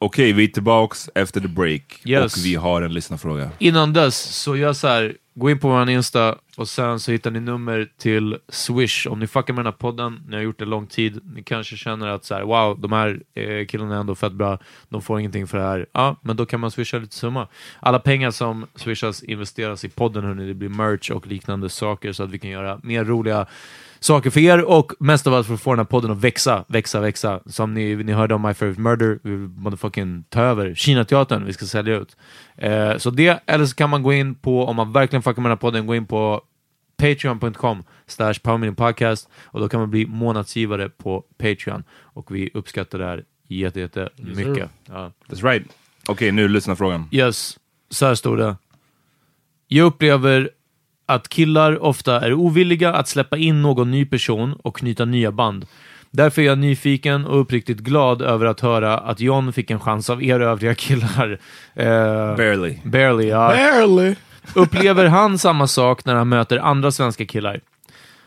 [SPEAKER 3] Okej, vi är tillbaks efter the break
[SPEAKER 1] Yes.
[SPEAKER 3] och vi har en lyssnarfråga.
[SPEAKER 1] Innan dess, så gör så här. Gå in på vår Insta och sen så hittar ni nummer till Swish. Om ni fuckar med den här podden, ni har gjort det lång tid, ni kanske känner att så här, wow, de här eh, killarna är ändå fett bra, de får ingenting för det här. Ja, men då kan man swisha lite summa. Alla pengar som swishas investeras i podden, hörni. Det blir merch och liknande saker så att vi kan göra mer roliga saker för er och mest av allt för att få den här podden att växa, växa, växa. Som ni, ni hörde om My Favorite Murder, vi vill motherfucking ta över Kinateatern, vi ska sälja ut. Eh, så det, eller så kan man gå in på, om man verkligen fuckar med den här podden, gå in på patreon.com slash podcast och då kan man bli månadsgivare på Patreon och vi uppskattar det här jätte, jätte mycket. Ja.
[SPEAKER 3] That's right. Okej, nu lyssnarfrågan.
[SPEAKER 1] Yes, så här stod det. Jag upplever att killar ofta är ovilliga att släppa in någon ny person och knyta nya band. Därför är jag nyfiken och uppriktigt glad över att höra att John fick en chans av er övriga killar. Eh,
[SPEAKER 3] Barely.
[SPEAKER 1] barely, ja.
[SPEAKER 5] Barely.
[SPEAKER 1] Upplever han samma sak när han möter andra svenska killar?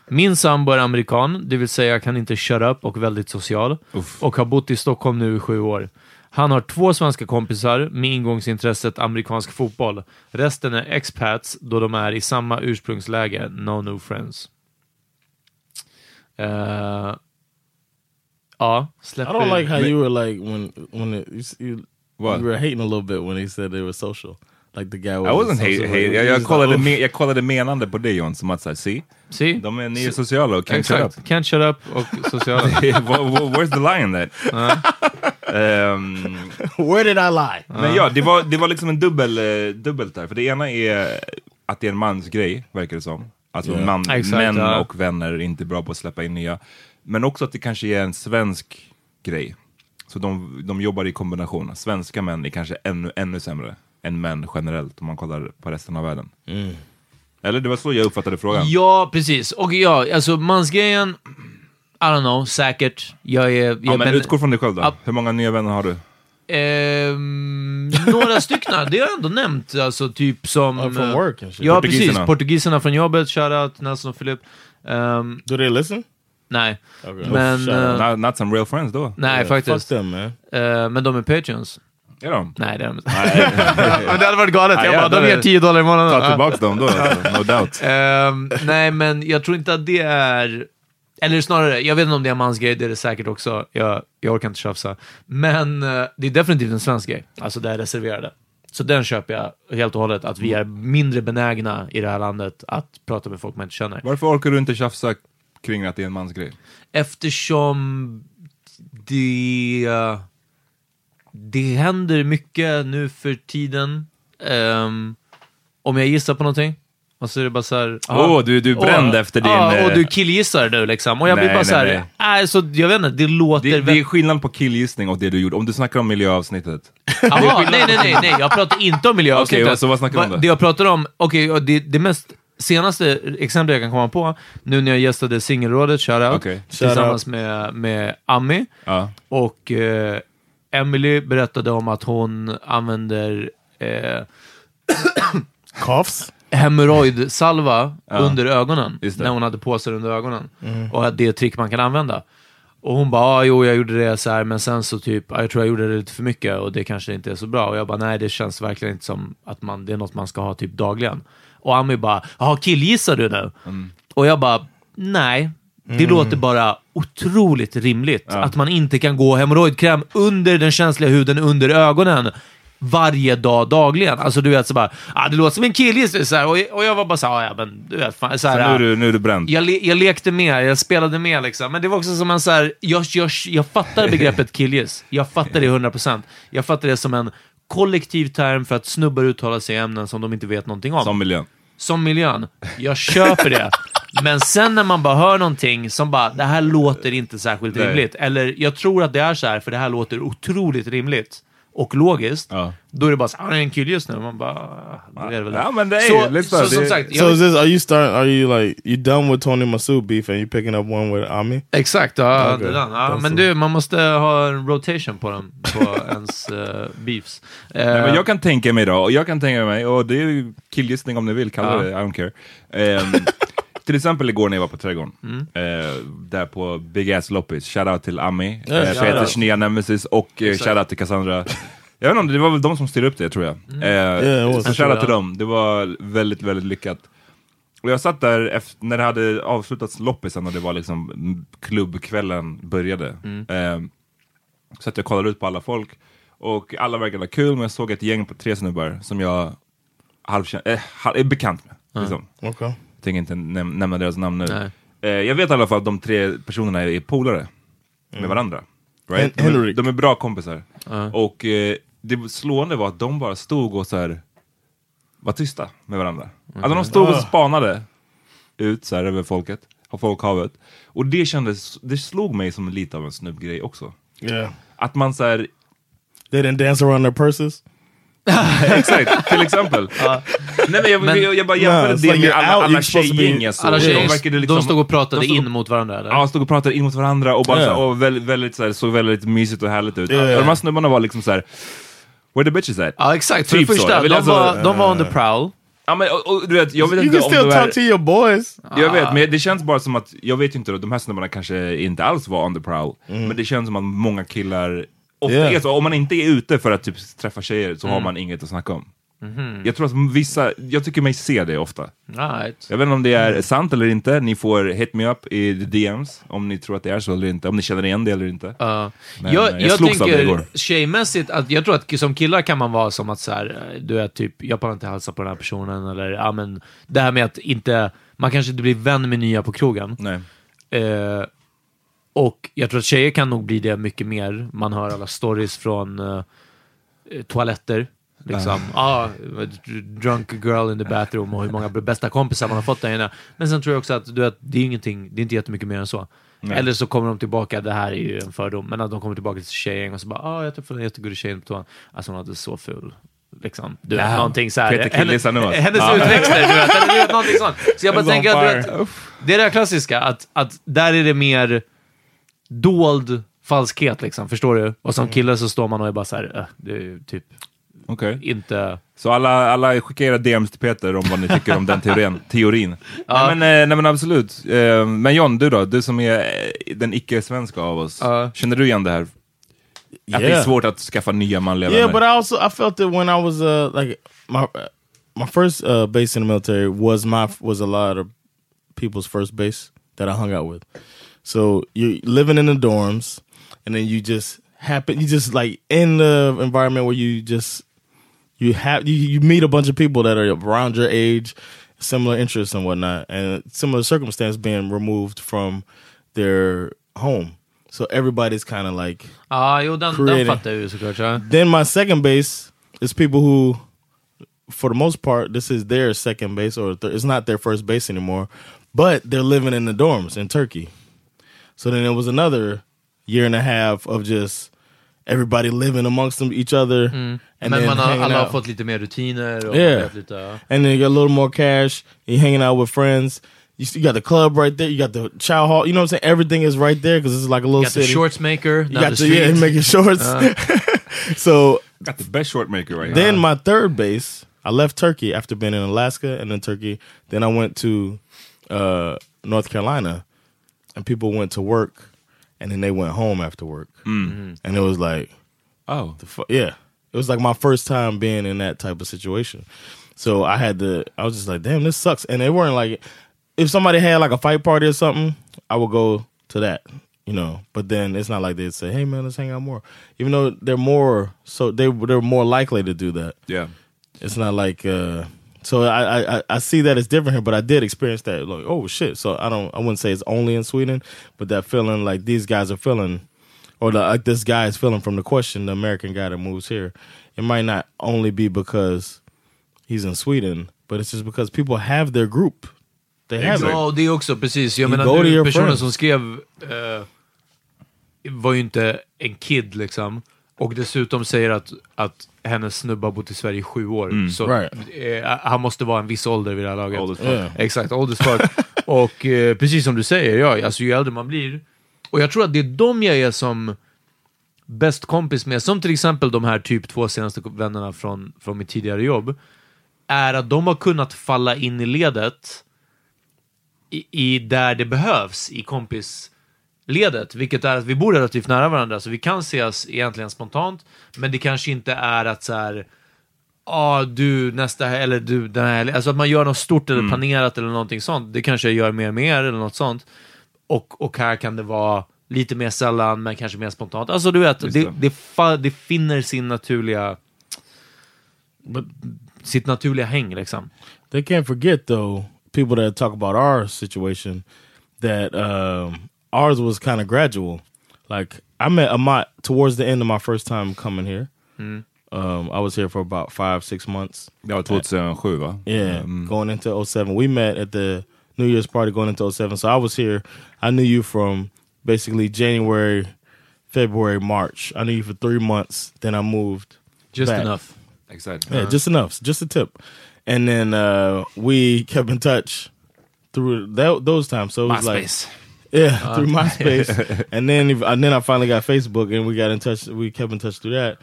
[SPEAKER 1] Min sambo är amerikan, det vill säga kan inte shut up och väldigt social. Och har bott i Stockholm nu i sju år. Han har två svenska kompisar med ingångsintresset amerikansk fotboll. Resten är expats då de är i samma ursprungsläge, no new friends. Eh, ja,
[SPEAKER 5] I
[SPEAKER 1] släpper...
[SPEAKER 5] don't like how you were like when when it, you, s- you,
[SPEAKER 3] What?
[SPEAKER 5] you were hating a little bit when he said they were social. Like the guy was
[SPEAKER 3] I wasn't hate,
[SPEAKER 5] social,
[SPEAKER 3] hate.
[SPEAKER 5] like,
[SPEAKER 3] Jag,
[SPEAKER 5] he
[SPEAKER 3] jag,
[SPEAKER 5] was
[SPEAKER 3] kollade
[SPEAKER 5] like,
[SPEAKER 3] me, jag kollade menande på dig John, som att såhär, see?
[SPEAKER 1] See?
[SPEAKER 3] De är, ni är
[SPEAKER 1] Se-
[SPEAKER 3] sociala och kan shut
[SPEAKER 1] Exakt.
[SPEAKER 3] up. <laughs>
[SPEAKER 1] Can't shut up och sociala.
[SPEAKER 3] Wha- wha- Where's the lie in that? <laughs> Ehm,
[SPEAKER 5] "Oh, Where did I lie?
[SPEAKER 3] men ja, det var, det var liksom en dubbel, eh, dubbelt där. För det ena är att det är en mans grej, verkar det som. Alltså
[SPEAKER 5] Ja.
[SPEAKER 3] man,
[SPEAKER 1] Exakt,
[SPEAKER 3] män
[SPEAKER 1] ja.
[SPEAKER 3] och vänner är inte bra på att släppa in nya. Men också att det kanske är en svensk grej. Så de, de jobbar i kombination. Svenska män är kanske ännu, ännu sämre än män generellt om man kollar på resten av världen. Eller det var så jag uppfattade frågan.
[SPEAKER 1] Ja, precis. Och ja, alltså mansgrejen, I don't know, säkert. Jag är... Jag,
[SPEAKER 3] Ja, men, utgå från dig själv då.
[SPEAKER 1] Ja.
[SPEAKER 3] Hur många nya vänner har du?
[SPEAKER 1] Ehm, några stycken, det har jag ändå nämnt. Alltså typ som...
[SPEAKER 5] Oh, from work and shit.
[SPEAKER 1] Ja,
[SPEAKER 3] Portugiserna.
[SPEAKER 1] precis. Portugiserna från jobbet, shoutout Nelson och Filip. Ehm,
[SPEAKER 5] Do they listen?
[SPEAKER 1] nej.
[SPEAKER 5] Okay.
[SPEAKER 1] Men,
[SPEAKER 5] Oh, shout out.
[SPEAKER 1] eh,
[SPEAKER 3] Not, not some real friends då?
[SPEAKER 1] nej,
[SPEAKER 5] Fuck
[SPEAKER 1] faktiskt.
[SPEAKER 5] them man.
[SPEAKER 1] Eh, men de är patreons.
[SPEAKER 3] Är de?
[SPEAKER 1] Nej, det är de inte. <laughs> Men det hade varit galet.
[SPEAKER 3] Nej,
[SPEAKER 1] Jag
[SPEAKER 3] ja,
[SPEAKER 1] bara,
[SPEAKER 3] det-
[SPEAKER 1] de ger 10 dollar i månaden.
[SPEAKER 3] Ta
[SPEAKER 1] Ja.
[SPEAKER 3] tillbaka dem då, alltså, no doubt.
[SPEAKER 1] Ehm, nej, men jag tror inte att det är... Eller snarare, jag vet inte om det är en mansgrej, det är det säkert också. Jag, jag orkar inte tjafsa. Men eh, det är definitivt en svensk grej, alltså det är reserverade. Så den köper jag helt och hållet, att vi är mindre benägna i det här landet att prata med folk man inte känner.
[SPEAKER 3] Varför orkar du inte tjafsa kring att det är en mansgrej?
[SPEAKER 1] Eftersom det, det händer mycket nu för tiden. Ehm, om jag gissar på någonting. Och så är det bara såhär...
[SPEAKER 3] Åh, du- du är bränd efter din,
[SPEAKER 1] Ja, och
[SPEAKER 3] eh,
[SPEAKER 1] du killgissar nu liksom. Och jag
[SPEAKER 3] Nej,
[SPEAKER 1] blir bara
[SPEAKER 3] nej,
[SPEAKER 1] såhär... Nej, så jag vet inte, det låter...
[SPEAKER 3] Det, det är
[SPEAKER 1] väl-
[SPEAKER 3] skillnad på killgissning och det du gjorde, om du snackar om miljöavsnittet.
[SPEAKER 1] Jaha, nej, nej, nej, nej. Jag pratar inte om miljöavsnittet.
[SPEAKER 3] <laughs> Okej, så vad snackar vi om
[SPEAKER 1] Va-
[SPEAKER 3] då?
[SPEAKER 1] Det jag pratar om, okej, och det, det mest senaste exemplet jag kan komma på, nu när jag gästade Singelrådet, shoutout,
[SPEAKER 3] Okej.
[SPEAKER 1] tillsammans med, med Ami.
[SPEAKER 3] Ja.
[SPEAKER 1] Och eh, Emily berättade om att hon använder eh,
[SPEAKER 5] Coughs?
[SPEAKER 1] hemorrojdsalva under ögonen.
[SPEAKER 3] Just det.
[SPEAKER 1] När hon hade på sig under ögonen.
[SPEAKER 3] Mm.
[SPEAKER 1] Och att det är ett trick man kan använda. Och hon bara, ah, jo jag gjorde det så här, men sen så typ, ah, jag tror jag gjorde det lite för mycket och det kanske inte är så bra. Och jag bara, nej det känns verkligen inte som att man, det är något man ska ha typ dagligen. Och Ami bara, jaha killgissar du nu?
[SPEAKER 3] Mm.
[SPEAKER 1] Och jag bara, nej. Det låter bara otroligt rimligt att man inte kan gå hemorrojdkräm under den känsliga huden under ögonen. varje dag, dagligen. Alltså du vet så bara, ah, det låter som en killgissning. Så här, och, och jag var bara så här, ah, ja men du vet. Fan, så här,
[SPEAKER 3] Så nu är
[SPEAKER 1] ah,
[SPEAKER 3] du, nu är du bränd.
[SPEAKER 1] jag, le jag lekte med, jag spelade med liksom. Men det var också som en så här, jag, jag, jag fattar begreppet
[SPEAKER 3] <laughs>
[SPEAKER 1] killgiss. Jag fattar det 100%. Jag fattar det som en kollektiv term för att snubbar uttalar sig i ämnen som de inte vet någonting om.
[SPEAKER 3] Som miljön.
[SPEAKER 1] Som miljön. Jag köper
[SPEAKER 3] <laughs>
[SPEAKER 1] det. Men sen när man bara hör någonting som bara, det här låter inte särskilt
[SPEAKER 3] Nej.
[SPEAKER 1] rimligt. Eller jag tror att det är så här, för det här låter otroligt rimligt. Och logiskt. Då är det bara så, ah, det är en killgissning. Man bara, ah, det är väl det.
[SPEAKER 3] Ja, men det är
[SPEAKER 1] så,
[SPEAKER 3] ju lite
[SPEAKER 1] så,
[SPEAKER 3] så.
[SPEAKER 1] som
[SPEAKER 3] Det-
[SPEAKER 1] sagt, jag-
[SPEAKER 5] So is this? Are you starting? Are you like you done with Tony Masu beef and you picking up one with Ami?
[SPEAKER 1] Exakt, ja,
[SPEAKER 5] Okej.
[SPEAKER 1] det där. Ja,
[SPEAKER 5] Den
[SPEAKER 1] men
[SPEAKER 5] som-
[SPEAKER 1] du, man måste ha en rotation på dem, <laughs> på ens eh, beefs. Eh,
[SPEAKER 3] Nej, men jag kan tänka mig då, och jag kan tänka mig, och det är ju killgissning om ni vill, kalla
[SPEAKER 1] Ja.
[SPEAKER 3] det, I don't care. Ehm, till exempel igår när jag var på trädgården, eh, där på Big Ass Loppis, shoutout till Ami,
[SPEAKER 5] Ja,
[SPEAKER 3] eh,
[SPEAKER 5] shout
[SPEAKER 3] Peters
[SPEAKER 5] out.
[SPEAKER 3] nya nemesis och eh, shoutout till Cassandra. Jag vet inte, det var väl de som styrde upp det tror jag. Eh,
[SPEAKER 5] Yeah, it was.
[SPEAKER 3] så
[SPEAKER 5] Jag
[SPEAKER 3] shoutout
[SPEAKER 1] det,
[SPEAKER 3] till dem, det var väldigt, väldigt lyckat. Och jag satt där efter, när det hade avslutats loppisen och det var liksom mm, klubbkvällen började.
[SPEAKER 5] Mm.
[SPEAKER 3] Ehm, så att jag kollade ut på alla folk och alla verkade ha kul, men jag såg ett gäng på tre snubbar som jag halvkänner, eh, halv, är bekant med. Liksom.
[SPEAKER 5] Okay.
[SPEAKER 3] Jag tänker inte näm nämna deras namn nu.
[SPEAKER 1] Nej.
[SPEAKER 3] Eh, jag vet i alla fall att de tre personerna är polare
[SPEAKER 1] Mm.
[SPEAKER 3] med varandra. Right?
[SPEAKER 5] Hen-
[SPEAKER 3] De, är,
[SPEAKER 5] Henrik.
[SPEAKER 3] de är bra kompisar. Och eh, det slående var att de bara stod och så här var tysta med varandra. Alltså de
[SPEAKER 5] Ah.
[SPEAKER 3] stod och spanade ut så här över folket, av folkhavet. Och det kändes, det slog mig som lite av en snubbgrej också.
[SPEAKER 5] Yeah.
[SPEAKER 3] Att man så här
[SPEAKER 5] They didn't dance around their purses.
[SPEAKER 3] Exakt,
[SPEAKER 1] <laughs>
[SPEAKER 3] till exempel. Nej, men jag,
[SPEAKER 1] Men-
[SPEAKER 3] jag, jag bara jämförde
[SPEAKER 5] Nah, it's
[SPEAKER 3] det
[SPEAKER 5] like
[SPEAKER 3] med
[SPEAKER 5] you're
[SPEAKER 3] alla,
[SPEAKER 5] out,
[SPEAKER 3] alla
[SPEAKER 5] you're supposed to be-
[SPEAKER 3] tjejgäng jag såg.
[SPEAKER 1] alla tjejer,
[SPEAKER 3] De
[SPEAKER 1] de,
[SPEAKER 3] verkade liksom-
[SPEAKER 1] stod och pratade
[SPEAKER 3] de stod-
[SPEAKER 1] in mot varandra, eller?
[SPEAKER 3] Ja, stod och pratade in mot varandra och bara
[SPEAKER 5] Yeah.
[SPEAKER 3] så, här, och väldigt, väldigt, så här, såg väldigt mysigt och härligt ut.
[SPEAKER 5] Yeah.
[SPEAKER 3] Och de här snubbarna var liksom så här. Where the bitches at?
[SPEAKER 1] Ja, exakt. För
[SPEAKER 3] Typ
[SPEAKER 1] det
[SPEAKER 3] så. Jag
[SPEAKER 1] första,
[SPEAKER 3] vill
[SPEAKER 1] de,
[SPEAKER 3] alltså-
[SPEAKER 1] var, de var on the prowl.
[SPEAKER 3] Ja, men, och, och, du vet, jag vet
[SPEAKER 5] You
[SPEAKER 3] inte
[SPEAKER 5] can
[SPEAKER 3] om det
[SPEAKER 5] still Ah.
[SPEAKER 3] var...
[SPEAKER 5] talk to your boys.
[SPEAKER 3] Jag vet, men det känns bara som att, jag vet ju inte, då, de här snubbarna kanske inte alls var on the prowl. Men det känns som att många killar ofta
[SPEAKER 5] Mm. Yeah. Mm.
[SPEAKER 3] är så. Om man inte är ute för att typ träffa tjejer så har man inget att snacka om. Jag tror att vissa, jag tycker mig se det ofta.
[SPEAKER 1] Right.
[SPEAKER 3] Jag vet inte om det
[SPEAKER 5] Mm.
[SPEAKER 3] är sant eller inte. Ni får hit me up i the DMs om ni tror att det är så eller inte. Om ni känner igen det eller inte.
[SPEAKER 1] Ja.
[SPEAKER 3] Men, eh,
[SPEAKER 1] jag
[SPEAKER 3] jag
[SPEAKER 1] jag
[SPEAKER 3] slogs av det igår.
[SPEAKER 1] tänker tjejmässigt att jag tror att som killar kan man vara som att så här, eh, du är typ, jag pallar inte hälsa på den här personen eller, ja men, det här med att inte, man kanske inte blir vän med nya på krogen.
[SPEAKER 3] Nej.
[SPEAKER 1] Eh, och jag tror att tjejer kan nog bli det mycket mer. Man hör alla stories från eh, toaletter. Liksom, ah, drunk girl in the bathroom och hur många bästa kompisar man har fått där inne. Men sen tror jag också att du vet, det är ingenting, det är inte jättemycket mer än så. Eller så kommer de tillbaka, det här är ju en fördom, men att de kommer tillbaka till tjejgäng och så bara ah, jag träffade en jättegullig tjej på toan. Alltså hon hade så ful. Liksom, du vet,
[SPEAKER 3] Ja.
[SPEAKER 1] någonting så här.
[SPEAKER 3] Peter Killis
[SPEAKER 1] Henne-
[SPEAKER 3] nu, alltså.
[SPEAKER 1] hennes
[SPEAKER 3] Ja.
[SPEAKER 1] utväxter, du vet. Eller du vet, någonting sånt. Så jag bara
[SPEAKER 3] It's on
[SPEAKER 1] tänker att du
[SPEAKER 3] fire.
[SPEAKER 1] vet, det är det här klassiska, att, att där är det mer dold falskhet, liksom, förstår du? Och
[SPEAKER 5] Mm.
[SPEAKER 1] som kille så står man och är bara så här, "Eh, det är ju typ
[SPEAKER 3] Okej.
[SPEAKER 1] inte...
[SPEAKER 3] Så alla, alla skicka era DMs till Peter om vad ni tycker om den teorin. <laughs> teorin. Nej, men, eh, nej men absolut. Eh, Men John, du då? Du som är eh, den icke-svenska av oss.
[SPEAKER 1] Ja.
[SPEAKER 3] Känner du igen det här? Att det är
[SPEAKER 5] Yeah.
[SPEAKER 3] svårt att skaffa nya manliga
[SPEAKER 5] Yeah,
[SPEAKER 3] vänner?
[SPEAKER 5] but I also I felt it when I was uh like my my first uh base in the military was my was a lot of people's first base that I hung out with. So you're living in the dorms, and then you just happen you just like in the environment where you just you have you, you meet a bunch of people that are around your age, similar interests and whatnot, and similar circumstance being removed from their home. So everybody's kind of like
[SPEAKER 1] Ja, jo, den, den
[SPEAKER 5] Creating.
[SPEAKER 1] fattar jag ju såklart. Ja.
[SPEAKER 5] then my second base is people who, for the most part, this is their second base or th it's not their first base anymore, but they're living in the dorms in Turkey. So then it was another year and a half of just everybody living amongst them, each other, and
[SPEAKER 1] Men
[SPEAKER 5] then
[SPEAKER 1] Mm. man uh, har,
[SPEAKER 5] hanging
[SPEAKER 1] alla har
[SPEAKER 5] out.
[SPEAKER 1] fått lite mer rutiner och
[SPEAKER 5] Yeah.
[SPEAKER 1] vet lite... ja.
[SPEAKER 5] and then you get a little more cash. You hanging out with friends. You, s- you got the club right there. You got the chow hall. You know what I'm saying? Everything is right there because it's like a little
[SPEAKER 1] You got the
[SPEAKER 5] city.
[SPEAKER 1] shorts maker,
[SPEAKER 5] you
[SPEAKER 1] down
[SPEAKER 5] got
[SPEAKER 1] the Uh.
[SPEAKER 5] to yeah,
[SPEAKER 1] street.
[SPEAKER 5] making shorts. <laughs> so
[SPEAKER 3] Got the best short maker right
[SPEAKER 5] Then
[SPEAKER 3] now.
[SPEAKER 5] my third base, I left Turkey after being in Alaska and then Turkey. Then I went to uh, North Carolina, and people went to work, and then they went home after work, and it was like,
[SPEAKER 3] Oh.
[SPEAKER 5] the fu- yeah, it was like my first time being in that type of situation. So I had to, I was just like, damn, this sucks. And they weren't like, if somebody had like a fight party or something, I would go to that. You know you know. But then it's not like they'd say, "Hey, man, let's hang out more," even though they're more so they they're more likely to do that.
[SPEAKER 3] Yeah,
[SPEAKER 5] it's not like uh, so I, I- I I see that it's different here, but I did experience that like oh shit. So I don't I wouldn't say it's only in Sweden, but that feeling like these guys are feeling, or the, like this guy is feeling from the question, the American guy that moves here, it might not only be because he's in Sweden, but it's just because people have their group. They have it.
[SPEAKER 1] Ja, och det är också precis. Jag
[SPEAKER 5] You
[SPEAKER 1] menar,
[SPEAKER 5] go to
[SPEAKER 1] nu,
[SPEAKER 5] your
[SPEAKER 1] personen
[SPEAKER 5] friends.
[SPEAKER 1] som skrev eh, var ju inte en kid liksom. Och dessutom säger att, att hennes snubbe har bott i Sverige i sju år.
[SPEAKER 5] Mm.
[SPEAKER 1] Så
[SPEAKER 5] Right.
[SPEAKER 1] eh, han måste vara en viss ålder vid det här laget.
[SPEAKER 5] Old as fuck. Yeah.
[SPEAKER 1] Exakt, old as fuck. och eh, precis som du säger, ja, alltså ju äldre man blir. Och jag tror att det är de jag är som bäst kompis med, som till exempel de här typ två senaste vännerna från, från mitt tidigare jobb, är att de har kunnat falla in i ledet i, i där det behövs i kompisledet, vilket är att vi bor relativt nära varandra, så vi kan ses egentligen spontant, men det kanske inte är att så här Ja, ah, du nästa helg, eller du den här helgen. Alltså att man gör något stort eller planerat eller någonting sånt. Det kanske jag gör mer med er eller något sånt. Och, och här kan det vara lite mer sällan, men kanske mer spontant. Alltså du vet,
[SPEAKER 3] Just
[SPEAKER 1] det,
[SPEAKER 3] det.
[SPEAKER 1] det, fa- det finner sin naturliga... Sitt naturliga häng liksom.
[SPEAKER 5] They can't forget though, people that talk about our situation, that um, ours was kind of gradual. Like I met Amat towards the end of my first time coming here.
[SPEAKER 1] Hmm.
[SPEAKER 3] Mm.
[SPEAKER 5] Um, I was here for about five, six months.
[SPEAKER 3] Ja, 2007 va?
[SPEAKER 5] Yeah,
[SPEAKER 1] Hmm.
[SPEAKER 5] going into 07. We met at the New Year's party going into 07. So I was here. I knew you from basically January, February, March. I knew you for three months. Then I moved.
[SPEAKER 1] Just
[SPEAKER 5] back.
[SPEAKER 1] enough.
[SPEAKER 3] Exakt.
[SPEAKER 1] Uh-huh.
[SPEAKER 5] Yeah, just enough, just a tip. And then uh, we kept in touch through that, those times. So it was
[SPEAKER 1] MySpace.
[SPEAKER 5] like, yeah, <laughs>
[SPEAKER 1] Uh,
[SPEAKER 5] through
[SPEAKER 1] <laughs>
[SPEAKER 5] MySpace. and then if- and then I finally got Facebook, and we got in touch. We kept in touch through that.